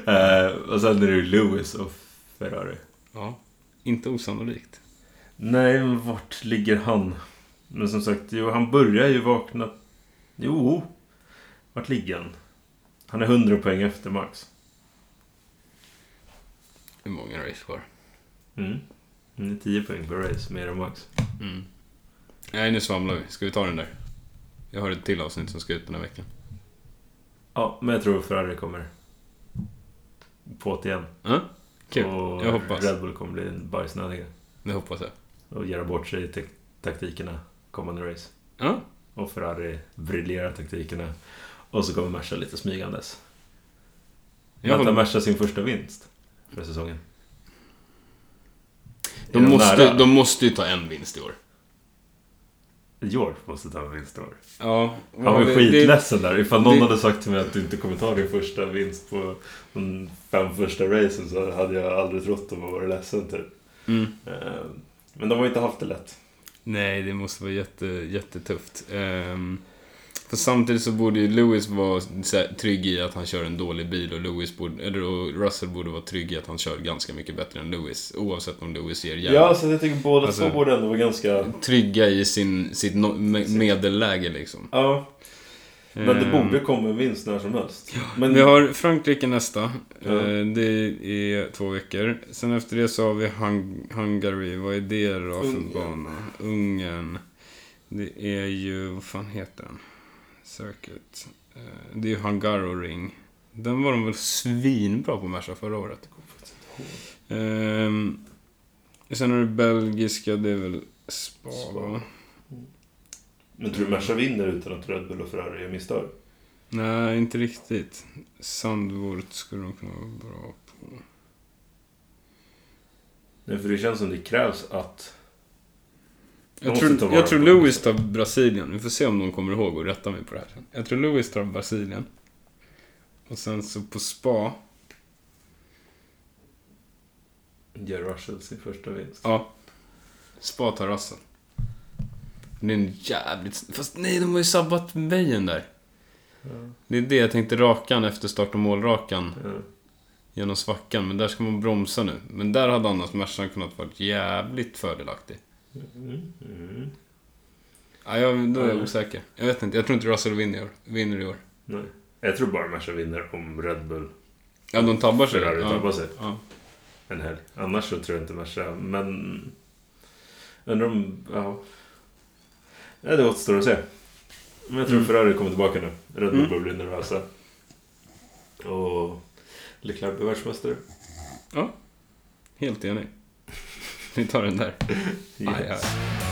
[SPEAKER 2] Eh, och sen är det ju Lewis och Ferrari.
[SPEAKER 1] Ja, inte osannolikt.
[SPEAKER 2] Nej, men vart ligger han? Men som sagt, jo, han börjar ju vakna... Jo! Vart ligger han? Han är 100 poäng efter Max.
[SPEAKER 1] Hur många race kvar?
[SPEAKER 2] Mm. Han är 10 poäng per race, mer än Max.
[SPEAKER 1] Mm. Nej, nu svamlar vi. Ska vi ta den där? Jag har ett till avsnitt som ska ut den här veckan.
[SPEAKER 2] Ja, men jag tror Ferrari kommer på det igen.
[SPEAKER 1] Ja, kul.
[SPEAKER 2] Och
[SPEAKER 1] Jag hoppas.
[SPEAKER 2] Red Bull kommer bli bajsnödiga.
[SPEAKER 1] Det hoppas jag.
[SPEAKER 2] Och göra bort sig i tek- taktikerna kommande race.
[SPEAKER 1] Ja,
[SPEAKER 2] Och Ferrari briljerar taktikerna. Och så kommer Merca lite smygandes.
[SPEAKER 1] jag
[SPEAKER 2] Väntar
[SPEAKER 1] håller.
[SPEAKER 2] Merca sin första vinst för säsongen? Är
[SPEAKER 1] De måste,
[SPEAKER 2] nära?
[SPEAKER 1] de måste ju ta en vinst i år.
[SPEAKER 2] George måste ta en vinst i år.
[SPEAKER 1] Ja,
[SPEAKER 2] Han var
[SPEAKER 1] det-
[SPEAKER 2] skitledsen där. Ifall någon
[SPEAKER 1] det-
[SPEAKER 2] hade sagt till mig att du inte kommer ta din första vinst på de fem första racen så hade jag aldrig trott att man var ledsen typ.
[SPEAKER 1] det- Mm.
[SPEAKER 2] Eh, Men de har inte haft det lätt.
[SPEAKER 1] Nej, det måste vara jätte, jättetufft. Um, för samtidigt så borde ju Lewis vara så här, trygg i att han kör en dålig bil och, Lewis borde, eller, och Russell borde vara trygg i att han kör ganska mycket bättre än Lewis. Oavsett om Lewis ger
[SPEAKER 2] Ja,
[SPEAKER 1] jävla...
[SPEAKER 2] så jag tycker båda
[SPEAKER 1] Alltså-
[SPEAKER 2] två borde ändå vara ganska...
[SPEAKER 1] Trygga i sin, sitt no, me, medelläge liksom.
[SPEAKER 2] Ja, men det
[SPEAKER 1] Ehm,
[SPEAKER 2] borde komma en vinst när som helst. Men
[SPEAKER 1] Vi har Frankrike nästa.
[SPEAKER 2] Ja.
[SPEAKER 1] Eh, Det är två veckor. Sen efter det så har vi Hung Hungary. Vad är det då
[SPEAKER 2] Ungern.
[SPEAKER 1] för bana? Ungern. Det är ju, vad fan heter den? Circuit. Eh, Det är ju Hungaroring. Den var de väl svinbra på Merca förra året. Ehm, sen har du belgiska, det är väl Spa,
[SPEAKER 2] Spa.
[SPEAKER 1] va?
[SPEAKER 2] Men tror du Merca vinner utan att Red Bull och Ferrari gör misstag?
[SPEAKER 1] Nej, inte riktigt. Sandvort skulle de kunna vara bra på.
[SPEAKER 2] Nej, för det känns som det krävs att...
[SPEAKER 1] Jag
[SPEAKER 2] De måste
[SPEAKER 1] tror,
[SPEAKER 2] ta
[SPEAKER 1] jag
[SPEAKER 2] vara
[SPEAKER 1] tror
[SPEAKER 2] på
[SPEAKER 1] Lewis tar Brasilien. Vi får se om de kommer ihåg och rätta mig på det här sen. Jag tror Lewis tar Brasilien. Och sen så på spa.
[SPEAKER 2] Gör Russell sin första vinst.
[SPEAKER 1] Ja. Spa tar Russell. Det är en jävligt... Fast nej, de har ju sabbat vägen där. Det är det jag tänkte rakan efter start och målrakan.
[SPEAKER 2] Ja.
[SPEAKER 1] Genom svackan. Men där ska man bromsa nu. Men där hade annars Mercan kunnat vara jävligt fördelaktig.
[SPEAKER 2] Mm. Mm.
[SPEAKER 1] Ja, jag, då är jag
[SPEAKER 2] Ja.
[SPEAKER 1] osäker. Jag vet inte. Jag tror inte Russell vinner i år. Vinner i år.
[SPEAKER 2] Nej. Jag tror bara Merca vinner om Red Bull
[SPEAKER 1] Ja, de tabbar
[SPEAKER 2] och
[SPEAKER 1] sig.
[SPEAKER 2] Ferrari
[SPEAKER 1] Ja.
[SPEAKER 2] tabbar sig
[SPEAKER 1] Ja.
[SPEAKER 2] en helg. Annars så tror jag inte Merca, men... Undrar om... Ja. Nej, det återstår att se. Men jag tror
[SPEAKER 1] Mm.
[SPEAKER 2] Ferrari kommer tillbaka nu. Red Bull
[SPEAKER 1] Mm.
[SPEAKER 2] börjar bli nervösa. Och Leclerc blir världsmästare.
[SPEAKER 1] Helt enig. Vi tar den där. Aj, aj.